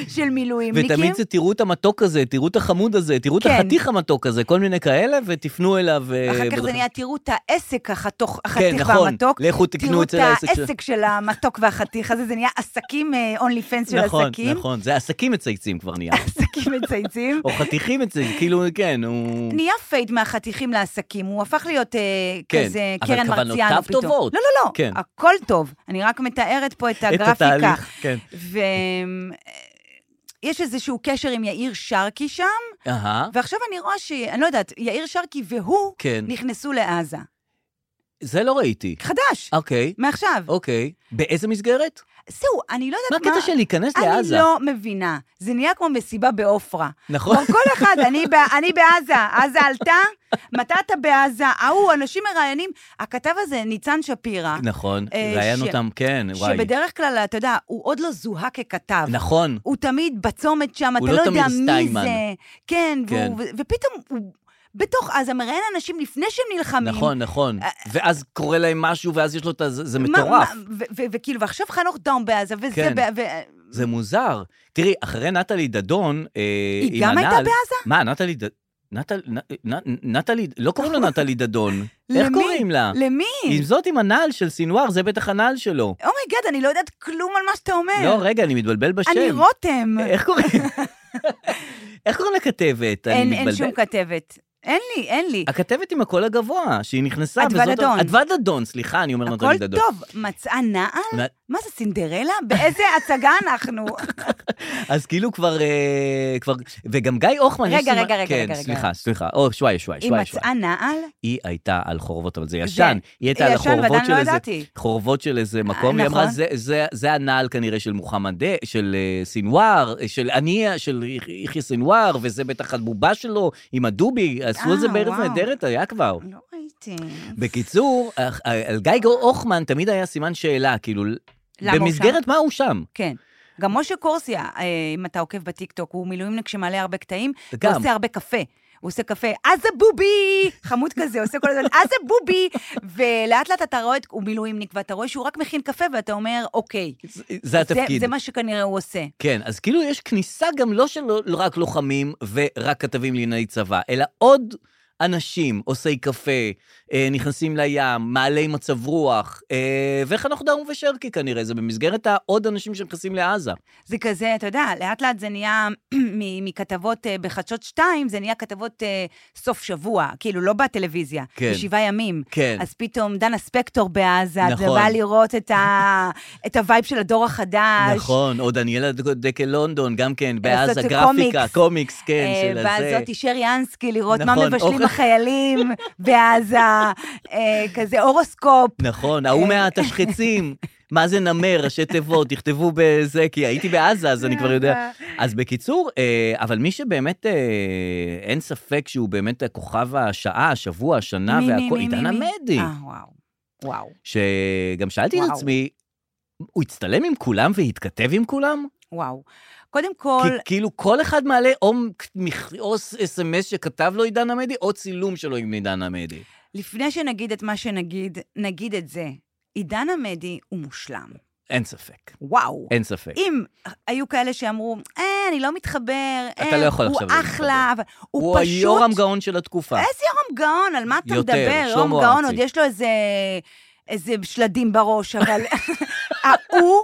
של מילואימניקים.
ותמיד זה, תראו את המתוק הזה, תראו את החמוד הזה, תראו את
כן,
האבטיח המתוק הזה, כל מיני כאלה, ותפנו אליו. אה,
אחר כך זה
בדרכים.
נהיה, תראו את העסק החתוך, החתיך
נכון.
והמתוק.
לכו תקנו אצל העסק של-
תראו את העסק של המתוק והחתיך הזה, זה נהיה עסקים, אונלי פנס של
נכון,
עסקים.
נכון, זה עסקים מצייצים כבר נהיה.
עסקים מצייצים.
או חתיכים מצייצים, כאילו, כן, הוא...
נהיה פייד מהחתיכים לעסקים, הוא הפך להיות אה,
כן,
כזה
אבל
קרן
כוונותיו
מרציאנו פתאום.
טובות.
לא, לא, לא,
כן.
הכל טוב. אני רק מתארת פה את הגרפיקה.
התהליך, כן.
ויש איזשהו קשר עם יאיר שרקי שם,
אהה.
ועכשיו אני רואה ש... אני לא יודעת, יאיר שרקי והוא
כן.
נכנסו לעזה.
זה לא ראיתי.
חדש,
אוקיי,
מעכשיו.
אוקיי. באיזה מסגרת?
זהו, אני לא
מה
יודעת מה...
הקטע של להיכנס לעזה?
אני לא מבינה. זה נהיה כמו מסיבה בעופרה.
נכון.
כבר כל אחד, אני, בע- אני בעזה, עזה עלתה, מתי אתה בעזה? ההוא, אנשים מראיינים. הכתב הזה, ניצן שפירא,
נכון,
אה,
ראיין
ש-
אותם, כן, וואי.
שבדרך כלל, אתה יודע, הוא עוד לא זוהה ככתב.
נכון,
הוא תמיד בצומת שם,
הוא
אתה
לא
לא יודע
תמיד
מי
סטיימן.
זה. כן,
כן.
והוא- ו- ופתאום הוא בתוך עזה מראיין אנשים לפני שהם נלחמים.
נכון, נכון. ואז קורה להם משהו, ואז יש לו את ה... זה זה
אה, מה-
מטורף.
מה- ו- ו- וכאילו, ועכשיו חנוך דאום בעזה, וזה...
כן.
ב- ו-
זה מוזר. תראי, אחרי נטלי דדון, אה,
היא
עם
גם הייתה
הנעל-
בעזה?
מה, נטלי דדון? נטלי, לא קוראים לה נטלי דדון. איך
למי?
קוראים לה?
למי?
עם זאת, עם הנעל של סינואר, זה בטח הנעל שלו.
אומייגד, אני לא יודעת כלום על מה שאתה אומר.
לא, רגע, אני מתבלבל בשם.
כן. אני רותם.
איך קוראים? איך קוראים לכתבת? אני
אין, אין
מתבלבל.
שום כתבת. אין לי, אין לי.
הכתבת עם הקול הגבוה, שהיא נכנסה.
אדוה
וזאת-
דדון.
אדוה דדון, סליחה, אני אומר
הכל
נטלי דדון.
טוב, מצאה נעל?
נ-
מה זה, סינדרלה? באיזה הצגה אנחנו?
אז כאילו כבר, אה, כבר, וגם גיא הוחמן, יש
רגע,
סימן-
רגע, רגע,
כן,
רגע, רגע.
סליחה, סליחה, או, שוואי, שוואי,
היא
שוואי, שוואי.
מצאה נעל?
היא הייתה על חורבות, אבל זה ישן, היא הייתה על
ישן, ועדיין
החורבות
לא
של איזה,
ידעתי.
חורבות של איזה מקום,
אה,
היא אמרה,
נכון.
"זה- זה- זה הנעל כנראה של מוחמד, אה, של אה, סינואר, אה, של הנייה, של יח- יחיא סינואר, וזה בטח הבובה שלו עם הדובי, עשו
אה,
את זה בארץ
וואו.
נהדרת, היה כבר.
לא ראיתי.
בקיצור, אה, אה, על גיא גו- הוחמן תמיד היה סימן שאלה, כאילו,
למה הוא
במסגרת מה הוא שם?
כן. גם משה קורסיה, אה, אם אתה עוקב בטיקטוק, הוא מילואימניק שמעלה הרבה קטעים,
גם.
ועושה הרבה קפה. הוא עושה קפה, עזה בובי! חמוד כזה, עושה כל הזמן, עזה בובי! ולאט לאט אתה רואה, את- הוא מילואימניק, ואתה רואה שהוא רק מכין קפה, ואתה אומר, אוקיי.
זה- זה התפקיד.
זה מה שכנראה הוא עושה.
כן, אז כאילו יש כניסה גם לא של לא רק לוחמים ורק כתבים לענייני צבא, אלא עוד אנשים, עושי קפה, אה, נכנסים לים, מעלי מצב רוח, אה, וחנוך דאום ושרקי כנראה, זה במסגרת העוד אנשים שנכנסים לעזה.
זה כזה, אתה יודע, לאט לאט זה נהיה מ- מכתבות אה, בחדשות 2, זה נהיה כתבות אה, סוף שבוע, כאילו, לא בטלוויזיה,
כן.
בשבעה ימים.
כן.
אז פתאום דנה ספקטור בעזה,
נכון.
נכון. ובא לראות את, ה, את הווייב של הדור החדש.
נכון, או דניאלה דקל לונדון, גם כן, בעזה,
לעשות
גרפיקה,
קומיקס.
קומיקס, כן,
אה,
של הזה.
והזאתי שרי אנסקי, לראות מה
נכון,
מבשלים
אוכל.
החיילים בעזה, אה, כזה הורוסקופ.
נכון, ההוא
אה.
מהתשחצים, מה זה נמר, ראשי תיבות, תכתבו בזה, כי הייתי בעזה, אז אני כבר יודע. אז בקיצור, אה, אבל מי שבאמת, אה, אין ספק שהוא באמת הכוכב השעה, השבוע, השנה
מי, מי,
והכל,
מי,
עידן
מי, מי?
עמדי,
אה, וואו, וואו,
שגם שאלתי את
וואו.
עצמי, הוא הצטלם עם כולם והתכתב עם כולם?
וואו. קודם
כי
כל,
כאילו כל אחד מעלה או מכ- או אס.אם.אס שכתב לו עידן עמדי, או צילום שלו עם עידן עמדי.
לפני שנגיד את מה שנגיד, נגיד את זה. עידן עמדי הוא מושלם.
אין ספק,
וואו.
אין ספק.
אם היו כאלה שאמרו, אה, אני לא מתחבר,
אתה
אה,
לא יכול
הוא
עכשיו לא
אחלה, אבל הוא,
הוא
פשוט...
היורם גאון של התקופה.
איזה יורם גאון? על מה אתה
יותר,
מדבר?
שלמה
יורם גאון, עוד
ארצי.
יש לו איזה... איזה שלדים בראש, אבל ההוא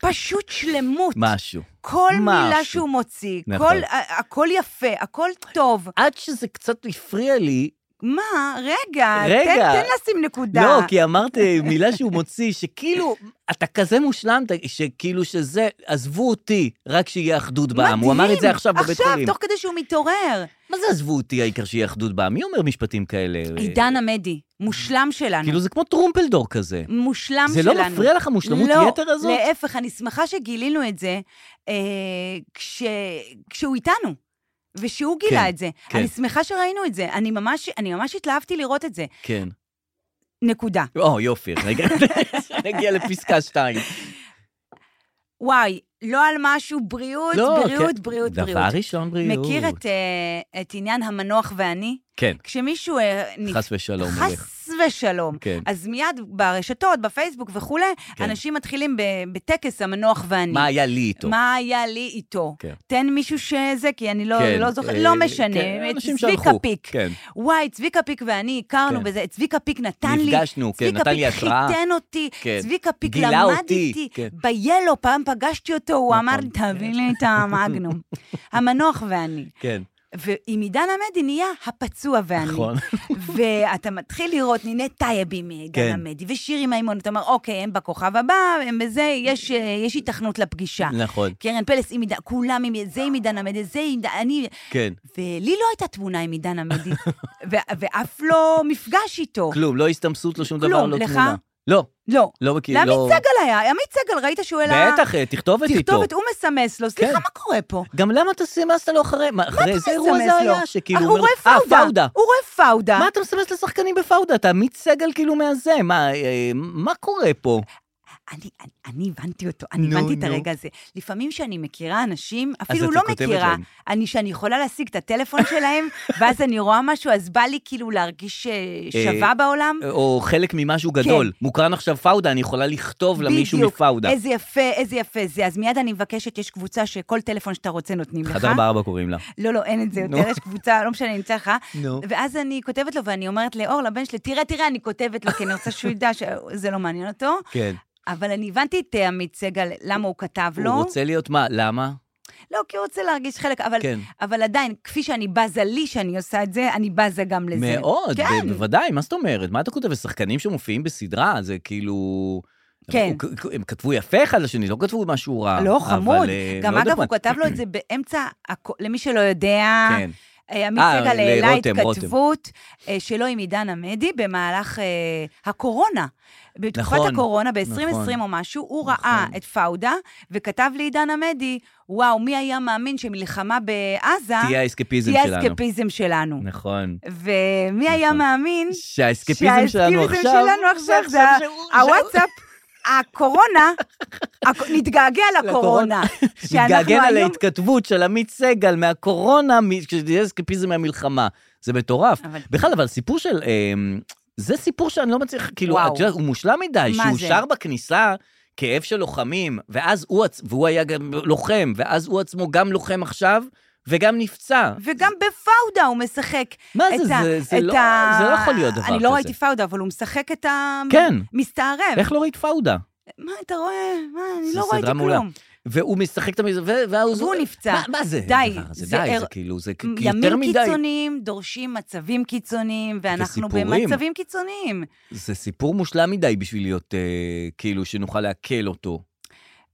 פשוט שלמות.
משהו.
כל מילה
משהו.
שהוא מוציא,
נכון.
כל, ה- הכל יפה, הכל טוב.
עד שזה קצת הפריע לי,
מה? רגע,
רגע.
תן, תן לשים נקודה.
לא, כי אמרת אה, מילה שהוא מוציא, שכאילו, אתה כזה מושלם, ת- שכאילו שזה, עזבו אותי, רק שיהיה אחדות בעם. הוא אמר את זה
מדהים.
עכשיו בבית
עכשיו,
חולים.
תוך כדי שהוא מתעורר.
מה זה עזבו אותי, העיקר שיהיה אחדות בעם? מי אומר משפטים כאלה?
עידן עמדי, מושלם שלנו.
כאילו, זה כמו טרומפלדור כזה.
מושלם
זה
שלנו.
לא מפריע לך, המושלמות
לא,
יתר הזאת?
להפך, אני שמחה שגילינו את זה אה, כש... כשהוא איתנו. ושהוא גילה
כן,
את זה.
כן.
אני שמחה שראינו את זה. אני ממש, אני ממש התלהבתי לראות את זה.
כן.
נקודה.
או, יופי, רגע, נגיע לפסקה שתיים.
וואי, לא על משהו, בריאות,
לא,
בריאות,
כן.
בריאות, בריאות.
דבר ראשון, בריאות.
מכיר את, אה, את עניין המנוח ואני?
כן,
כשמישהו... אה, נפ-
חס ושלום. רגע.
חס חס ושלום.
כן.
אז מיד ברשתות, בפייסבוק וכולי,
כן.
אנשים מתחילים ב- בטקס המנוח ואני.
מה היה לי איתו?
מה היה לי איתו?
כן.
תן מישהו שזה, כי אני לא,
כן,
לא זוכרת,
אה,
לא משנה,
כן,
את
אנשים
צביקה
שהלכו,
פיק.
כן.
וואי, צביקה פיק ואני הכרנו
כן.
בזה, צביקה פיק נתן לי,
נפגשנו, כן,
צביקה
נתן
פיק
לי התראה.
חיתן אותי,
כן.
צביקה פיק
גילה
למד
אותי,
איתי,
כן.
ביאלו, פעם פגשתי אותו, הוא
נכון,
אמר לי, תביא לי את המגנום. המנוח ואני.
כן,
ועם עידן עמדי נהיה הפצוע ואני.
נכון.
ואתה מתחיל לראות נינת טייבי
כן.
מעידן עמדי, ושירי מימון, אתה אומר, אוקיי, הם בכוכב הבא, הם בזה, יש, אה, יש היתכנות לפגישה.
נכון.
קרן פלס עם עידן, כולם עם, זה עם עידן עמדי, זה עם עידן, אני...
כן.
ולי לא הייתה תמונה עם עידן עמדי, ו- ואף לא מפגש איתו.
כלום, לא הסתמסות, לא שום
כלום,
דבר, לא
לך?
תמונה. לא,
לא.
לא מכיר,
לעמית
לא...
סגל היה, עמית סגל, ראית שהוא העלה...
בטח, אה, תכתובת איתו.
תכתובת, הוא מסמס לו, סליחה,
כן.
מה קורה פה?
גם למה אתה סימסת לו אחרי? מה, אחרי איזה אירוע
מסמס
זה
לו?
היה? שכאילו,
הוא
אומר
רואה
לך, אה,
פאודה.
פאודה.
הוא רואה פאודה.
מה אתה מסמס לשחקנים בפאודה? אתה עמית סגל כאילו מהזה, מה, אה, מה קורה פה?
אני, אני, אני הבנתי אותו, אני
נו,
הבנתי את
נו.
הרגע הזה. לפעמים שאני מכירה אנשים,
אתה
אפילו לא
כותבת
מכירה,
להם.
אני, שאני יכולה להשיג את הטלפון שלהם, ואז אני רואה משהו, אז בא לי כאילו להרגיש אה, שווה
אה,
בעולם.
או חלק ממשהו גדול. מוקרן עכשיו פאודה, אני יכולה לכתוב למישהו
כן. בדיוק.
מפאודה.
איזה יפה, איזה יפה זה. אז מיד אני מבקשת, יש קבוצה שכל טלפון שאתה רוצה נותנים לך.
חדר בארבע קוראים לה.
לא, לא, אין את זה
נו.
יותר, יש קבוצה, לא משנה, נמצא לך.
נו.
ואז אני כותבת לו, ואני אומרת לאור, לבן שלי, תראה, תראה, אני כותבת לו, כי אני רוצה שהוא ידע שזה לא מעניין אותו.
כן.
אבל אני הבנתי את אה, עמית סגל, למה הוא כתב לו.
הוא רוצה להיות מה? למה?
לא, כי הוא רוצה להרגיש חלק, אבל,
כן.
כן. אבל עדיין, כפי שאני בזה לי שאני עושה את זה, אני בזה גם לזה.
מאוד,
כן.
ב- בוודאי, מה זאת אומרת? מה אתה כותב? שחקנים שמופיעים בסדרה, זה כאילו...
כן.
הם- הם- הם כתבו יפה אחד לשני, לא כתבו משהו רע.
לא,
אבל,
חמוד.
אה,
גם
לא יודע
אגב,
מה.
הוא כתב לו את זה באמצע, הכ- למי שלא יודע,
כן.
אה, עמית
אה,
סגל העלה
לרותם, רותם.
התכתבות אה, שלו עם עידן עמדי במהלך אה, הקורונה. בתקופת
נכון,
הקורונה, ב-2020
נכון.
או משהו, הוא ראה את פאודה וכתב לעידן עמדי, וואו, מי היה מאמין שמלחמה בעזה
תהיה האסקפיזם
תהיה
שלנו.
האסקפיזם שלנו.
נכון.
ומי היה
נכון.
מאמין
שהאסקפיזם שלנו עכשיו...
שהאסקפיזם שלנו עכשיו זה
שהוא-
הוואטסאפ. הקורונה, הכ- נתגעגע לקורונה. שאנחנו
מתגעגע על
היום-
ההתכתבות של עמית סגל מהקורונה, מ- שזה יהיה אסקפיזם מהמלחמה. זה מטורף.
אבל-
בכלל, אבל סיפור של... אה, זה סיפור שאני לא מצליח, כאילו,
וואו.
את יודעת, הוא מושלם מדי,
מה
שהוא
זה?
שר בכניסה כאב של לוחמים, ואז הוא, עצ- והוא היה גם לוחם, ואז הוא עצמו גם לוחם עכשיו, וגם נפצע.
וגם בפאודה הוא משחק.
מה זה,
את ה-
זה- זה
את
לא-
ה-
זה לא יכול להיות דבר
אני לא
כזה.
ראיתי פאודה, אבל הוא משחק את ה...
כן.
מסתערב.
איך לא ראית פאודה?
מה, אתה רואה? מה, אני
זו
לא ראיתי
סדרה מעולה.
כלום.
והוא משחק את המזוודה, ואז
והוא נפצע.
מה- מה זה?
די,
הדבר הזה?
זה
די,
הר-
זה כאילו, זה כ- יותר
ימים
מדי.
קיצוניים דורשים מצבים קיצוניים, ואנחנו
וסיפורים.
במצבים קיצוניים.
זה סיפור מושלם מדי בשביל להיות, אה, כאילו, שנוכל לעכל אותו.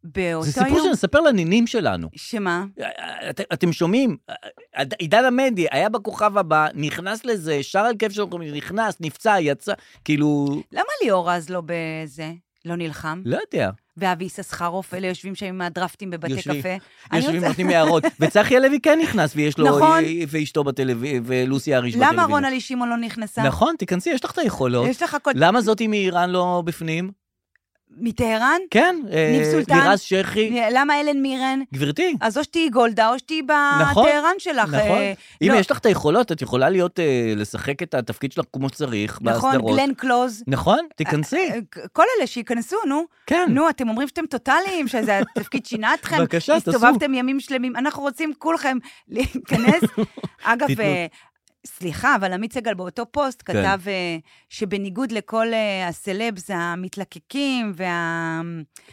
באותו
זה סיפור
יום...
שנספר לנינים שלנו.
שמה?
אה, אה, את, אתם שומעים? אה, אה, עידן עמדי היה בכוכב הבא, נכנס לזה, שר על כיף שלו, נכנס, נפצע, יצא, כאילו,
למה ליאור אז לא בזה? לא נלחם?
לא יודע.
ואבי יששכרוף, אלה יושבים שם עם הדרפטים בבתי
יושבים.
קפה. אני
יושבים,
רוצה-
נותנים הערות. וצחי הלוי כן נכנס, ויש לו,
נכון.
אה, ואשתו בטלוויזיה, ולוסי אריש בטלוויזיה.
למה רונה לי שמעון לא נכנסה?
נכון, תיכנסי, יש לך את היכולות.
יש לך הכל...
למה זאתי מאיראן לא בפנים?
מטהרן?
כן, אה,
ניב סולטן? אה,
לירז שכי.
למה אלן מירן?
גברתי,
אז או שתהיי גולדה, או שתהיי
נכון,
בטהרן שלך.
נכון.
אה,
אם
לא,
יש לך את היכולות, את יכולה להיות, אה, לשחק את התפקיד שלך כמו שצריך,
נכון,
בהסדרות.
גלן קלוז.
נכון, תיכנסי,
אה, אה, כל אלה שייכנסו, נו.
כן.
נו, אתם אומרים שאתם טוטאליים, שזה התפקיד שינה אתכם.
בבקשה, תעשו.
הסתובבתם ימים שלמים, אנחנו רוצים כולכם להיכנס. אגב,
תיתנו.
אה, סליחה, אבל עמית סגל באותו פוסט
כן.
כתב אה, שבניגוד לכל אה, הסלבס המתלקקים וה...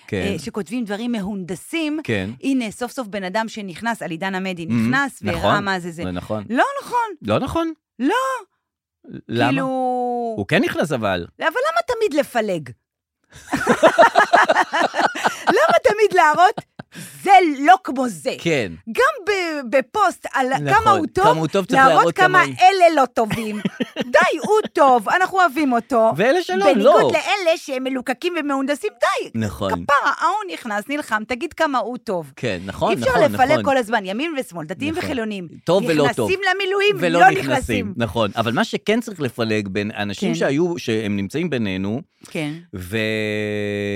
כן.
אה, שכותבים דברים מהונדסים,
כן.
הנה, סוף סוף בן אדם שנכנס, על עידן עמדי
Mhm,
נכנס, והראה
נכון,
מה זה זה.
זה נכון.
לא נכון,
לא נכון.
לא.
למה?
כאילו... אה,
הוא כן נכנס אבל.
אבל למה תמיד לפלג? למה תמיד להראות, זה לא כמו זה.
כן.
גם ב- בפוסט על
נכון,
כמה הוא טוב,
כמה הוא טוב, צריך להראות
להראות
כמה
כמה
היא-
אלה לא טובים. די, הוא טוב, אנחנו אוהבים אותו.
ואלה שלא, לא.
בניגוד לאלה שהם מלוקקים ומהונדסים, די.
נכון.
כפרה, ההוא נכנס, נלחם, תגיד כמה הוא טוב.
כן, נכון,
אי אפשר
נכון,
לפלג
נכון.
כל הזמן, ימין ושמאל, דתיים
נכון.
וחילונים.
טוב ולא טוב.
נכנסים למילואים,
ולא נכנסים.
לא נכנסים.
נכון, אבל מה שכן צריך לפלג בין אנשים
כן.
שהיו, שהם נמצאים בינינו,
כן.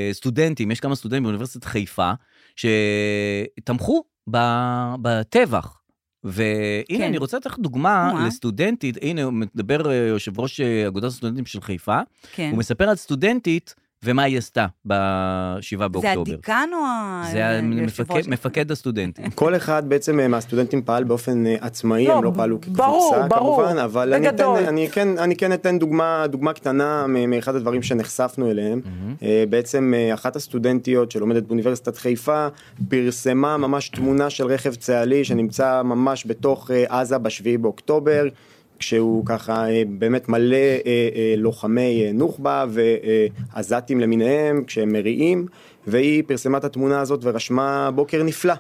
וסטודנטים, יש כמה סטודנטים באוניברסיטת חיפה, שתמכו ב- בטבח. והנה,
כן.
אני רוצה לתת לך דוגמה
נו, אה.
לסטודנטית, הנה, הוא מדבר אה, יושב ראש אה, אגודת הסטודנטים של חיפה,
כן.
הוא מספר על סטודנטית ומה היא עשתה ב-7
זה
באוקטובר.
הדיקן או ה...
זה
היושב ראש?
המפקד- מפקד הסטודנטים.
כל אחד בעצם אה, מהסטודנטים פעל באופן אה, עצמאי,
לא,
הם לא
ב-
פעלו
ברור,
כקבוצה
ברור,
כמובן, אבל אני, אתן,
בגדול.
אני, כן, אני כן אתן דוגמה, דוגמה קטנה מ- מאחד הדברים שנחשפנו אליהם. אה, בעצם אה, אחת הסטודנטיות שלומדת באוניברסיטת חיפה פרסמה ממש תמונה של רכב צה"לי שנמצא ממש בתוך אה, עזה בשביעי באוקטובר. כשהוא ככה אה, באמת מלא אה, אה, לוחמי אה, נוח'בה ועזתים למיניהם כשהם מריעים והיא פרסמה את התמונה הזאת ורשמה בוקר נפלא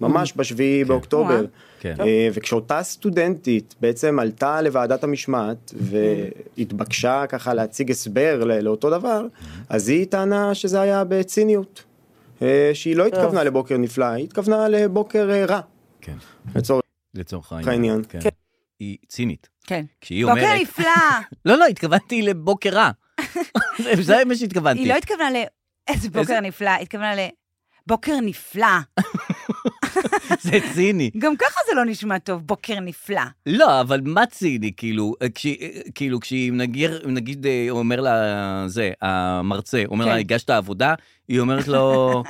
ממש בשביעי באוקטובר.
כן.
אה, וכשאותה סטודנטית בעצם עלתה לוועדת המשמעת והתבקשה ככה להציג הסבר ל- לאותו דבר,
Mm-hmm.
אז היא טענה שזה היה בציניות. אה, שהיא לא התכוונה לבוקר נפלא, היא התכוונה לבוקר אה, רע.
כן.
לצורך
לצורך
העניין.
כן. היא צינית.
כן.
כשהיא
בוקר
אומרת...
נפלא!
לא, לא, התכוונתי לבוקר רע. זה- זה מה שהתכוונתי.
היא לא התכוונה ל... איזה בוקר
איזה-
נפלא, היא התכוונה ל... בוקר נפלא.
זה ציני.
גם ככה זה לא נשמע טוב, בוקר נפלא.
לא, אבל מה ציני? כאילו, אה, כש- אה, כאילו כשהיא נגיד, נגיד אה, הוא אומר לה, זה, המרצה, הוא אומר
כן.
לה, הגשת עבודה, היא אומרת לו,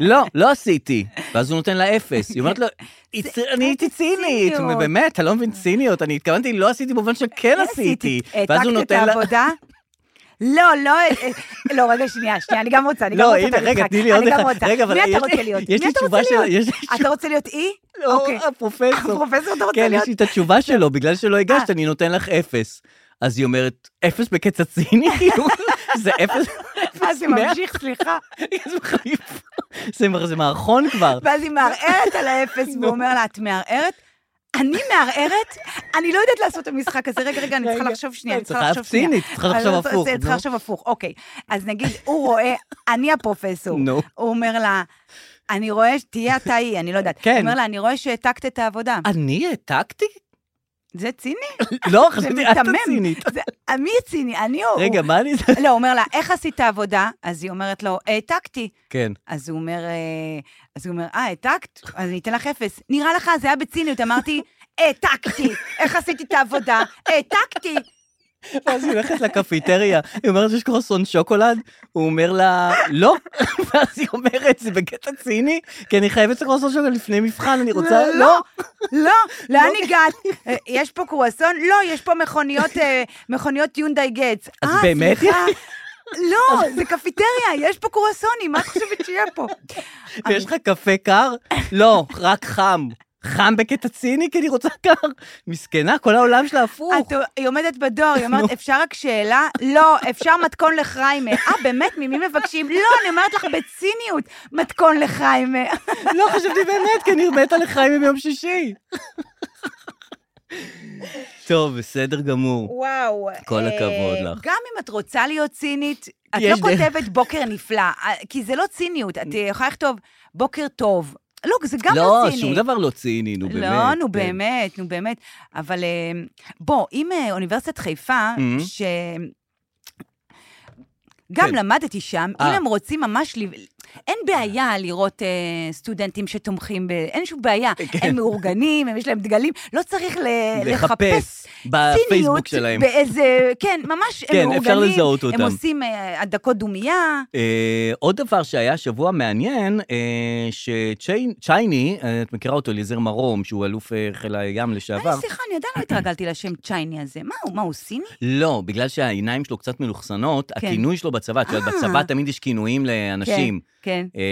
לא, לא עשיתי. ואז הוא נותן לה אפס. היא אומרת לו, "הצ- אני הייתי
איזה
צינית.
כן. ציניות.
באמת, אתה לא מבין ציניות, אני התכוונתי, לא עשיתי במובן של כן עשיתי. ואז הוא
העתקת
נותן
את
לה...
העבודה? לא, לא, אה, אה, לא, רגע, שנייה, שנייה, אני גם רוצה, אני גם
לא,
רוצה את
הנה, רגע,
המשחק.
תני לי עוד
אני גם
אחד.
רוצה.
רגע, אבל
מי אתה
יש לי-
רוצה להיות?
יש
מי
לי
אתה
תשובה
רוצה
של...
להיות?
יש לי
אתה רוצה להיות אי?
לא,
אוקיי.
הפרופסור.
הפרופסור, אתה רוצה
כן,
להיות?
יש לי את התשובה שלו, בגלל
אה.
שלא הגשת, אני נותן לך אפס. אז היא אומרת, אפס בקצב ציני? כאילו, זה אפס,
ואז היא
מאה.
אה, ממשיך, סליחה.
זה מחליף. זה מ- זה מערכון כבר.
ואז היא מערערת על האפס, והוא אומר לה, את מערערת? אני מערערת? אני לא יודעת לעשות את המשחק הזה. רגע, רגע, אני צריכה
רגע.
לחשוב שנייה, אני
צריכה
צריכה לחשוב שנייה.
צינית, צריכה לחשוב
אז זה-
הפוך,
זה- צריכה
נו.
לחשוב הפוך, אוקיי. אז נגיד, הוא רואה, אני הפרופסור.
נו.
הוא אומר לה, אני רואה, תהיה אתה היא, אני לא יודעת.
כן.
הוא אומר לה, אני רואה שהעתקת את העבודה.
אני העתקתי?
זה ציני?
לא,
זה
חשבתי, את
מיתמם.
הצינית.
זה- מי ציני? אני או הוא?
רגע, מה אני...
לא, הוא אומר לה, איך עשית עבודה? אז היא אומרת לו, העתקתי.
כן.
אז הוא אומר, אה, אז הוא אומר, אה, העתקת? אז אני אתן לך אפס. נראה לך, זה היה בציניות, אמרתי, העתקתי, איך עשיתי את העבודה? העתקתי.
ואז היא הולכת לקפיטריה, היא אומרת שיש קרוסון שוקולד, הוא אומר לה, לא. ואז היא אומרת, זה בקטע ציני, כי אני חייבת לקרוסון שוקולד לפני מבחן, אני רוצה...
לא, לא, לאן הגעת? אה, יש פה קרואסון? לא, יש פה מכוניות, אה, מכוניות יונדאי גץ.
אז באמת?
סליחה. לא, זה קפיטריה, יש פה קרואסונים, מה את חושבת שיהיה פה?
ויש לך קפה קר? לא, רק חם. חם בקטע ציני, כי אני רוצה קר. מסכנה, כל העולם שלה הפוך.
את- היא עומדת בדואר, היא אומרת, אפשר רק שאלה? לא, אפשר מתכון לחריימה. אה, באמת? ממי מבקשים? לא, אני אומרת לך בציניות, מתכון לחריימה.
לא, חשבתי באמת, כי אני מתה לחיים ביום שישי. טוב, בסדר גמור.
וואו.
כל
אה,
הכבוד לך.
גם אם את רוצה להיות צינית, את
יש
לא
דרך.
כותבת בוקר נפלא, אה, כי זה לא ציניות, את יכולה לכתוב בוקר טוב. לא, זה גם לא
לא,
ציני.
שום דבר לא ציני, נו באמת.
לא, נו
כן.
באמת, נו באמת. אבל אה, בוא, אם אה, אוניברסיטת חיפה,
Mhm.
ש... גם
כן.
למדתי שם, אם
אה.
הם רוצים ממש, ל- אין בעיה לראות אה, סטודנטים שתומכים, ב... אין שום בעיה. הם מאורגנים, הם- יש להם דגלים, לא צריך ל- לחפש
כן. לחפש בפייסבוק
ציניות
שלהם.
באיזה, כן, ממש, הם
כן,
מאורגנים.
אפשר לזהות אותם.
הם עושים אה, הדקות דומייה.
אה, עוד דבר שהיה שבוע מעניין, אה, שצ'ייני, אה, את מכירה אותו, אליעזר מרום, שהוא אלוף אה, חיל הים
אני,
לשעבר,
סליחה, אני עדיין לא התרגלתי לשם צ'ייני הזה. מה הוא, מה הוא סיני?
לא, בגלל שהעיניים שלו קצת מלוכסנות,
כן.
הכינוי שלו בצבא, את יודעת,
אה.
בצבא תמיד יש כינויים לאנשים.
כן.
אה,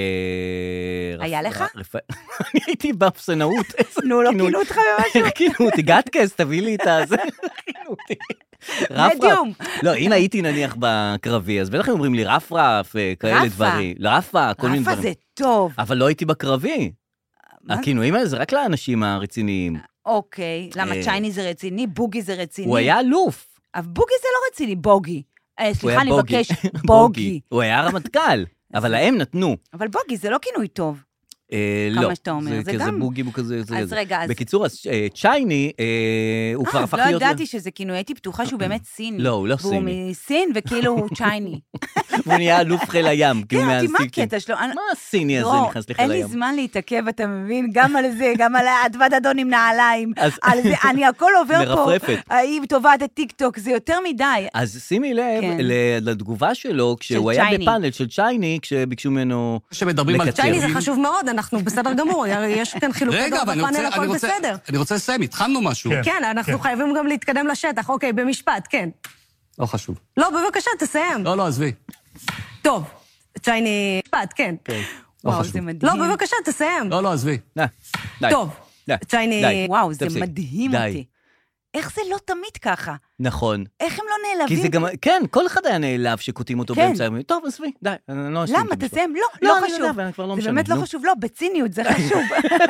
רפ-
היה לך?
רפ- אני הייתי באפסנאות, איזה
נו, לא
כינוי.
פינו אותך במשהו?
איך כינו אותי? גטקס, תביא לי את הזה. לא כינו אותי. רפרף.
מדיום.
לא, אם הייתי נניח בקרבי, אז בטח היו אומרים לי רפרף, אה, כאלה
רפה.
דברים. רפה, כל מיני
רפה זה
דברים.
טוב.
אבל לא הייתי בקרבי.
מה זה?
הכינויים האלה זה רק לאנשים הרציניים.
אוקיי, למה
אה,
צ'ייני זה רציני, בוגי זה רציני.
הוא היה אלוף.
אבל בוגי זה לא רציני, בוגי. אה,
הוא
סליחה,
היה
אני
בוגי.
מבקש, בוגי.
הוא היה רמטכ"ל, אבל להם נתנו.
אבל בוגי זה לא כינוי טוב.
אה,
כמה
לא.
שאתה אומר, זה
כזה
גם-
בוגים הוא כזה... זה-
אז
זה.
רגע, אז-
בקיצור, אז אה, צ'ייני, אה, הוא כבר
אה,
הפך
אז
להיות...
לא ידעתי שזה כאילו, הייתי בטוחה שהוא באמת סיני.
לא, הוא לא
והוא
סיני.
מסין, וכאילו הוא צ'ייני.
והוא נהיה אלוף חיל הים, כי הוא
כן, אמרתי, מה
מהסיקים.
הקטע שלו? אני-
מה הסיני הזה
דרור,
נכנס לחיל
לא, אין לי
הים?
זמן להתעכב, אתה מבין? גם על זה, גם על האדוות אדון עם נעליים.
אז-
על זה, אני הכל עובר פה.
מרפרפת. אה,
האם טובת הטיקטוק, זה יותר מדי.
אז שימי לב
כן.
ל- לתגובה שלו, כשהוא היה
צ'ייני.
בפאנל של צ'ייני, כשביקשו ממנו...
שמדברים על
לקצר.
שייני, זה
כאבים.
חשוב מאוד, אנחנו בסדר גמור, יש כאן חילוקי
רגע,
דעות
אבל אני רוצה-
בפאנל,
אני
הכל
רוצה-
בסדר.
אני רוצה לסיים, התחלנו משהו.
כן, אנחנו חייבים גם להתקדם לשטח. אוקיי, במשפט, כן.
לא חשוב.
לא, בבקשה, תסיים.
לא, לא, עזבי.
טוב, צ'ייני... משפט, כן.
וואו, זה מדהים.
לא, בבקשה, תסיים.
לא, לא, עזבי.
אה, די.
טוב,
די,
צ'ייני-
די,
אה, וואו, זה
תפסיק.
מדהים
די.
אותי. איך זה לא תמיד ככה?
נכון.
איך הם לא
כי
נעלבים?
זה גם, כן, כל אחד היה נעלב שקוטעים אותו
כן.
באמצע הימים. טוב, עזבי, די, אני לא אשלים את
למה?
המשפט.
תסיים. לא,
לא,
לא
אני יודע,
חשוב.
אבל אני כבר לא
זה
משנה,
באמת לא
נו.
חשוב. לא, בציניות זה חשוב.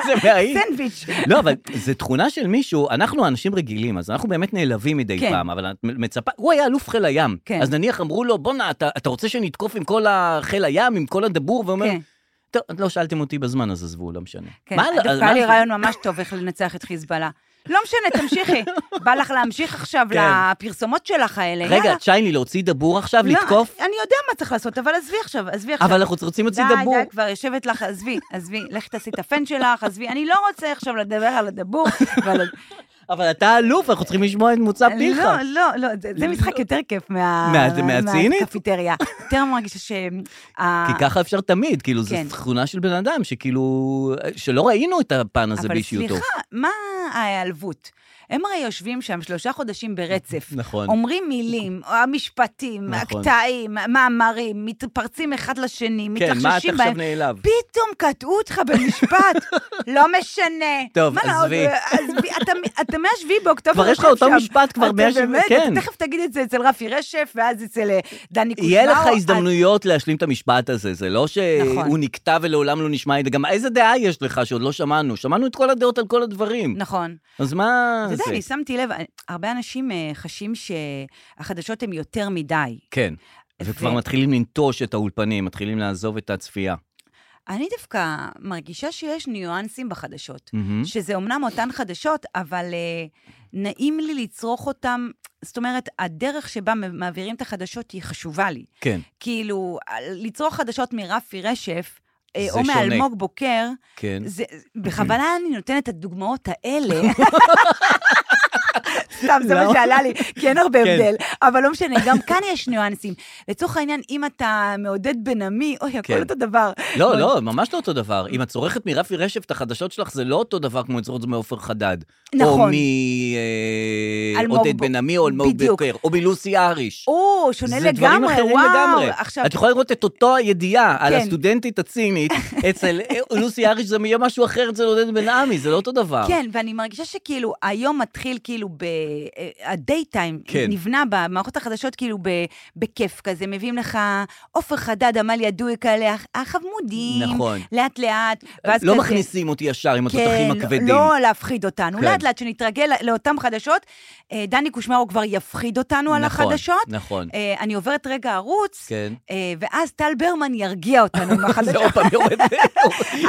זה מהאי.
סנדוויץ'.
לא, אבל זו תכונה של מישהו, אנחנו אנשים רגילים, אז אנחנו באמת נעלבים מדי
כן.
פעם, אבל את מצפה, הוא היה אלוף חיל הים.
כן.
אז נניח אמרו לו, בואנה, אתה, אתה רוצה שנתקוף עם כל החיל הים, עם כל הדבור, ואומר,
כן.
טוב, לא שאלתם אותי בזמן, אז עזבו, לא משנה.
כן,
מה-
דווקא
אז
היה
מה-
לי רעיון ממש טוב איך לנצח את חיזבאללה. לא משנה, תמשיכי. בא לך להמשיך עכשיו
כן.
לפרסומות שלך האלה.
רגע,
יאללה.
צ'ייני, להוציא דבור עכשיו,
לא,
לתקוף?
אני יודע מה צריך לעשות, אבל עזבי עכשיו, עזבי עכשיו.
אבל אנחנו רוצים להוציא דבור.
די, די, כבר יושבת לך, עזבי, עזבי, לכי תעשי את הפן שלך, עזבי. אני לא רוצה עכשיו לדבר על הדבור ועל...
אבל אתה אלוף, אנחנו צריכים לשמוע את מוצא פיך.
לא, לא, לא, זה- זה משחק יותר כיף מה...
מה- זה מהצינית?
מהקפיטריה. יותר מרגישה ש...
כי ככה אפשר תמיד, כאילו, זו
כן.
תכונה של בן אדם, שכאילו, שלא ראינו את הפן הזה באישיותו.
אבל סליחה, מה ההיעלבות? הם הרי יושבים שם שלושה חודשים ברצף.
נכון.
אומרים מילים, המשפטים,
נכון.
הקטעים, מאמרים, מתפרצים אחד לשני,
כן,
מתרחשים
מה
בהם.
אתה עכשיו נעלב?
פתאום קטעו אותך במשפט, לא משנה.
טוב,
מה לא,
עזבי.
עזבי, אתה מ- אתה מהשביעי באוקטובר
כבר יש לך
יושב
אותו
שם.
משפט כבר
אתה
מהשביעי,
באמת,
כן.
אתה תכף תגיד את זה אצל רפי רשף, ואז אצל אה, דני אה, קושמרו.
יהיה לך
אז-
הזדמנויות להשלים את המשפט הזה, זה לא שהוא
נכון.
נקטע ולעולם לא נשמע את זה, גם איזה דעה יש לך שעוד לא שמענו? שמענו את כל הדעות על כל הדברים.
נכון.
אז מה
אתה
זה?
יודע, אני שמתי לב, הרבה אנשים אה, חשים שהחדשות הן יותר מדי.
כן. וכבר
ו-
מתחילים לנטוש את האולפנים, מתחילים לעזוב את הצפייה.
אני דווקא מרגישה שיש ניואנסים בחדשות,
מהמם.
שזה אומנם אותן חדשות, אבל אה, נעים לי לצרוך אותן. זאת אומרת, הדרך שבה מ- מעבירים את החדשות היא חשובה לי.
כן,
כאילו, אה, לצרוך חדשות מרפי רשף, אה,
זה
או
שונה.
מאלמוג בוקר,
כן.
זה, בכוונה אני נותנת את הדוגמאות האלה. סתם, זה מה
למה?
שעלה לי, כי אין הרבה
לא. כן.
הבדל. אבל לא משנה, גם כאן יש ניואנסים. לצורך העניין, אם אתה מעודד בן עמי, אוי,
כן.
הכל אותו דבר.
לא, לא, ממש לא אותו דבר. אם את צורכת מרפי רשף את החדשות שלך, זה לא אותו דבר כמו לצרוך את זה מעופר חדד. או
נכון. אלמוג
מעודד
בו-
בן עמי, או אלמוג
בדיוק.
בוקר, או מלוסי אריש.
או, שונה
זה דברים
לגמרי,
אחרים
וואו.
לגמרי.
עכשיו,
את יכולה לראות את אותו הידיעה על
כן.
הסטודנטית הצינית אצל לוסי אריש, זה יהיה משהו אחר אצל עודד בן עמי, זה לא אותו דבר.
כן, ואני מרגישה שכאילו, היום מתחיל כאילו ב... אה, הדייטיים
כן.
נבנה במערכות החדשות כאילו ב... בכיף כזה, מביאים לך עופר חדד, עמליה דוי כאלה, הח- החמודים,
נכון.
לאט לאט, ואז
לא
כזה...
מכניסים אותי ישר עם התותחים
כן,
הכבדים.
לא להפחיד אותנו.
כן.
לאט לאט שנתרגל לא- לאותן חדשות, אה, דני קושמרו כבר יפחיד אותנו על
נכון,
החדשות.
נכון.
אה, אני עוברת רגע ערוץ,
כן.
אה, ואז טל ברמן ירגיע אותנו
זה
מהחדשות.
עוד פעם יורד.
אני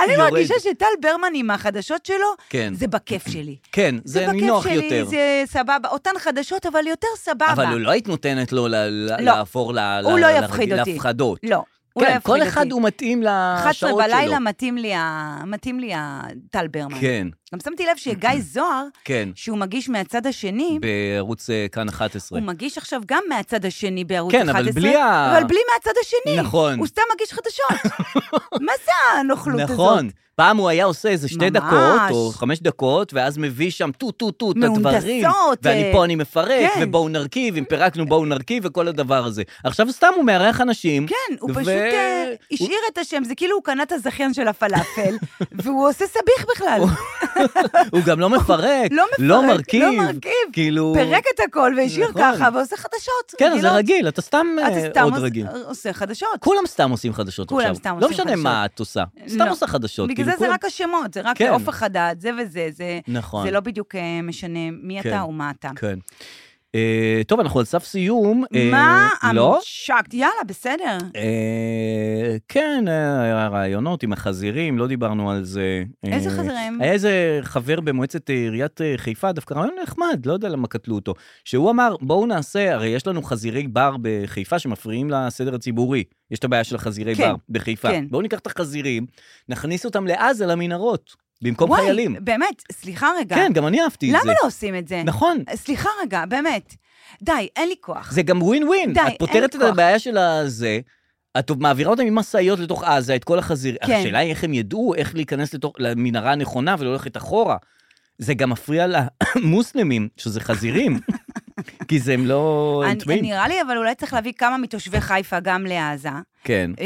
יורד.
מרגישה שטל ברמן עם החדשות שלו,
כן.
זה בכיף שלי.
כן, זה
בכיף
נינוח
שלי,
יותר.
זה סבבה. אותן חדשות, אבל יותר סבבה.
אבל לא היית נותנת לו ל- ל-
לא.
לעבור ל- ל-
הוא לא
ל-
יפחיד אותי.
להפחדות.
לא, הוא לא
כן,
יפחיד
כל
אותי.
אחד הוא מתאים לשעות
11
שלו.
בלילה מתאים לי ה- מתאים לי הטל ברמן.
כן,
גם שמתי לב שגיא זוהר,
כן.
שהוא מגיש מהצד השני,
בערוץ אה, כאן 11.
הוא מגיש עכשיו גם מהצד השני בערוץ
כן,
11,
אבל בלי ה-
אבל בלי מהצד השני.
נכון.
הוא סתם מגיש חדשות. מה זה הנוכלות הזאת?
נכון. פעם הוא היה עושה איזה שתי
ממש.
דקות, או חמש דקות, ואז מביא שם טו טו טו את
מהונדסות,
הדברים. ואני
אה,
פה אני מפרק,
כן.
ובואו נרכיב, אם פירקנו בואו נרכיב, וכל הדבר הזה. עכשיו סתם הוא מארח אנשים.
כן, הוא
ו-
פשוט אה,
הוא-
השאיר את השם, זה כאילו הוא קנה את הזכיין של הפלאפל, והוא עושה סביח בכלל.
הוא גם לא מפרק,
לא מפרק,
לא מרכיב.
לא מרכיב.
כאילו...
פירק את הכל והשאיר
נכון.
ככה, ועושה חדשות.
כן, זה
רגילות.
רגיל, אתה סתם אה,
אתה סתם
עוד
עוש-
רגיל.
עושה חדשות.
כולם סתם עושים חדשות
כולם
עכשיו.
סתם
לא
עושים
משנה
חדשות.
מה את עושה, סתם
לא.
עושה חדשות.
בגלל
כאילו,
זה זה
כולם-
רק השמות, זה רק
כן.
עוף החדד, זה וזה, זה
נכון.
זה לא בדיוק אה, משנה מי
כן.
אתה ומה אתה.
כן. אה, טוב, אנחנו על סף סיום. אה,
מה
לא?
המשקת? יאללה, בסדר.
אה, כן, אה, הרעיונות עם החזירים, לא דיברנו על זה. אה,
איזה חזירים?
היה איזה חבר במועצת אה, עיריית אה, חיפה, דווקא רעיון נחמד, לא יודע למה קטלו אותו, שהוא אמר, בואו נעשה, הרי יש לנו חזירי בר בחיפה שמפריעים לסדר הציבורי. יש את הבעיה של החזירי
כן,
בר בחיפה.
כן.
בואו ניקח את החזירים, נכניס אותם לעזה למנהרות, במקום
וואי,
חיילים.
באמת, סליחה רגע.
כן, גם אני אהבתי את זה.
למה לא עושים את זה?
נכון.
סליחה רגע, באמת. די, אין לי כוח.
זה גם ווין ווין.
די,
את
אין
פותרת
לי
את
כוח.
הבעיה של הזה, את מעבירה אותם עם משאיות לתוך עזה, את כל החזיר.
כן.
השאלה היא איך הם ידעו איך להיכנס לתוך, למנהרה הנכונה ולא ללכת אחורה. זה גם מפריע למוסלמים, שזה חזירים, כי זה הם לא... הם
אני-
טמאים.
נראה לי, אבל אולי צריך להביא כמה מתושבי חיפה גם לעזה,
כן,
אה,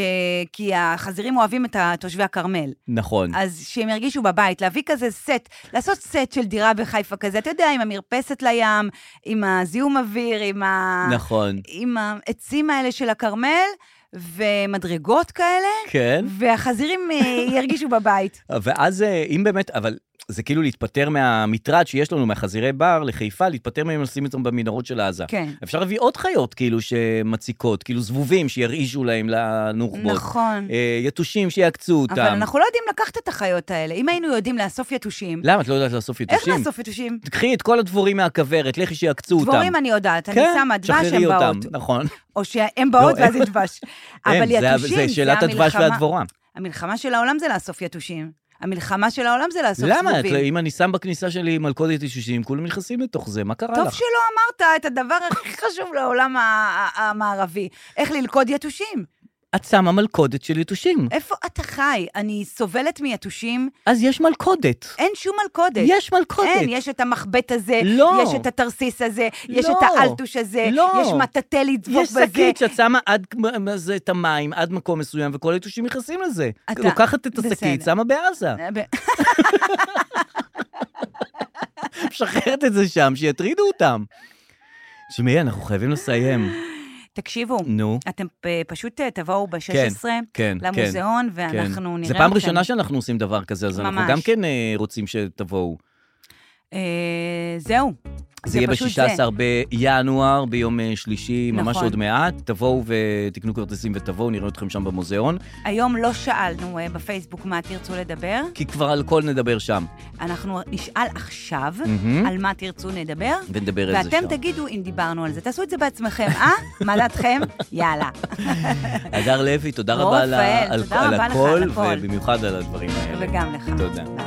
כי החזירים אוהבים את ה- תושבי הכרמל.
נכון.
אז שהם ירגישו בבית, להביא כזה סט, לעשות סט של דירה בחיפה כזה, אתה יודע, עם המרפסת לים, עם הזיהום אוויר, עם, ה...
נכון.
עם העצים האלה של הכרמל, ומדרגות כאלה,
כן.
והחזירים אה, ירגישו בבית.
ואז אה, אם באמת, אבל זה כאילו להתפטר מהמטרד שיש לנו, מהחזירי בר לחיפה, להתפטר מהם לשים אותם במנהרות של עזה.
כן.
אפשר להביא עוד חיות כאילו שמציקות, כאילו זבובים שירעישו להם לנוח'בות.
נכון.
אה, יתושים שיעקצו אותם.
אבל אנחנו לא יודעים לקחת את החיות האלה. אם היינו יודעים לאסוף יתושים,
למה? את לא יודעת לאסוף
איך
יתושים?
נאסוף יתושים?
קחי את כל הדבורים מהכוורת, לכי שיעקצו אותם.
דבורים אני יודעת, אני
כן,
שמה דבש,
שחררי
הן
אותם,
באות.
נכון.
או שהן באות
לא,
ואז זה דבש.
אין,
אבל
זה ה-
יתושים,
זה שאלת הדבש
המלחמה-
והדבורה.
המלחמה של העולם זה לאסוף יתושים. המלחמה של העולם זה לאסוף
למה? את- לא-
זבובים.
אם אני שם בכניסה שלי מלכודת יתושים, כולם נכנסים לתוך זה, מה קרה
טוב
לא לך?
שלא אמרת את הדבר הכי חשוב לעולם ה- ה- המערבי, איך ללכוד יתושים.
את שמה מלכודת של יתושים,
איפה אתה חי? אני סובלת מיתושים,
אז יש מלכודת.
אין שום מלכודת.
יש מלכודת.
אין, יש את המחבט הזה,
לא.
יש את התרסיס הזה, יש
לא.
את האלטוש הזה,
לא.
יש מטאטא לדבוק
יש
בזה.
שקית שאת שמה עד כמה- זה את המים, עד מקום מסוים, וכל היתושים נכנסים לזה.
אתה-
לוקחת את השקית,
בסדר.
שמה בעזה. משחררת את זה שם, שיטרידו אותם. תשמעי, אנחנו חייבים לסיים.
תקשיבו,
נו.
אתם אה, פשוט אה, תבואו ב-16
כן, כן.
למוזיאון,
כן.
ואנחנו נראה
זה
אתכם.
פעם ראשונה שאנחנו עושים דבר כזה, אז אנחנו
ממש.
גם כן אה, רוצים שתבואו.
אה, זהו.
זה יהיה
פשוט
ב-16 בינואר, ביום אה, שלישי, ממש
נכון.
עוד מעט. תבואו ותקנו כרטיסים ותבואו, נראה אתכם שם במוזיאון,
היום לא שאלנו אה, בפייסבוק מה תרצו לדבר,
כי כבר על כל נדבר שם,
אנחנו נשאל עכשיו
מהמם.
על מה תרצו נדבר,
ונדבר על זה שם.
ואתם תגידו אם דיברנו על זה. תעשו את זה בעצמכם, אה? מה דעתכם? יאללה.
הדר לוי, תודה
דרור
רבה על ה-
רפאל,
על
תודה
על
רבה לך
הכל,
על הכל.
ובמיוחד על הדברים האלה.
וגם לך.
תודה.
ביי.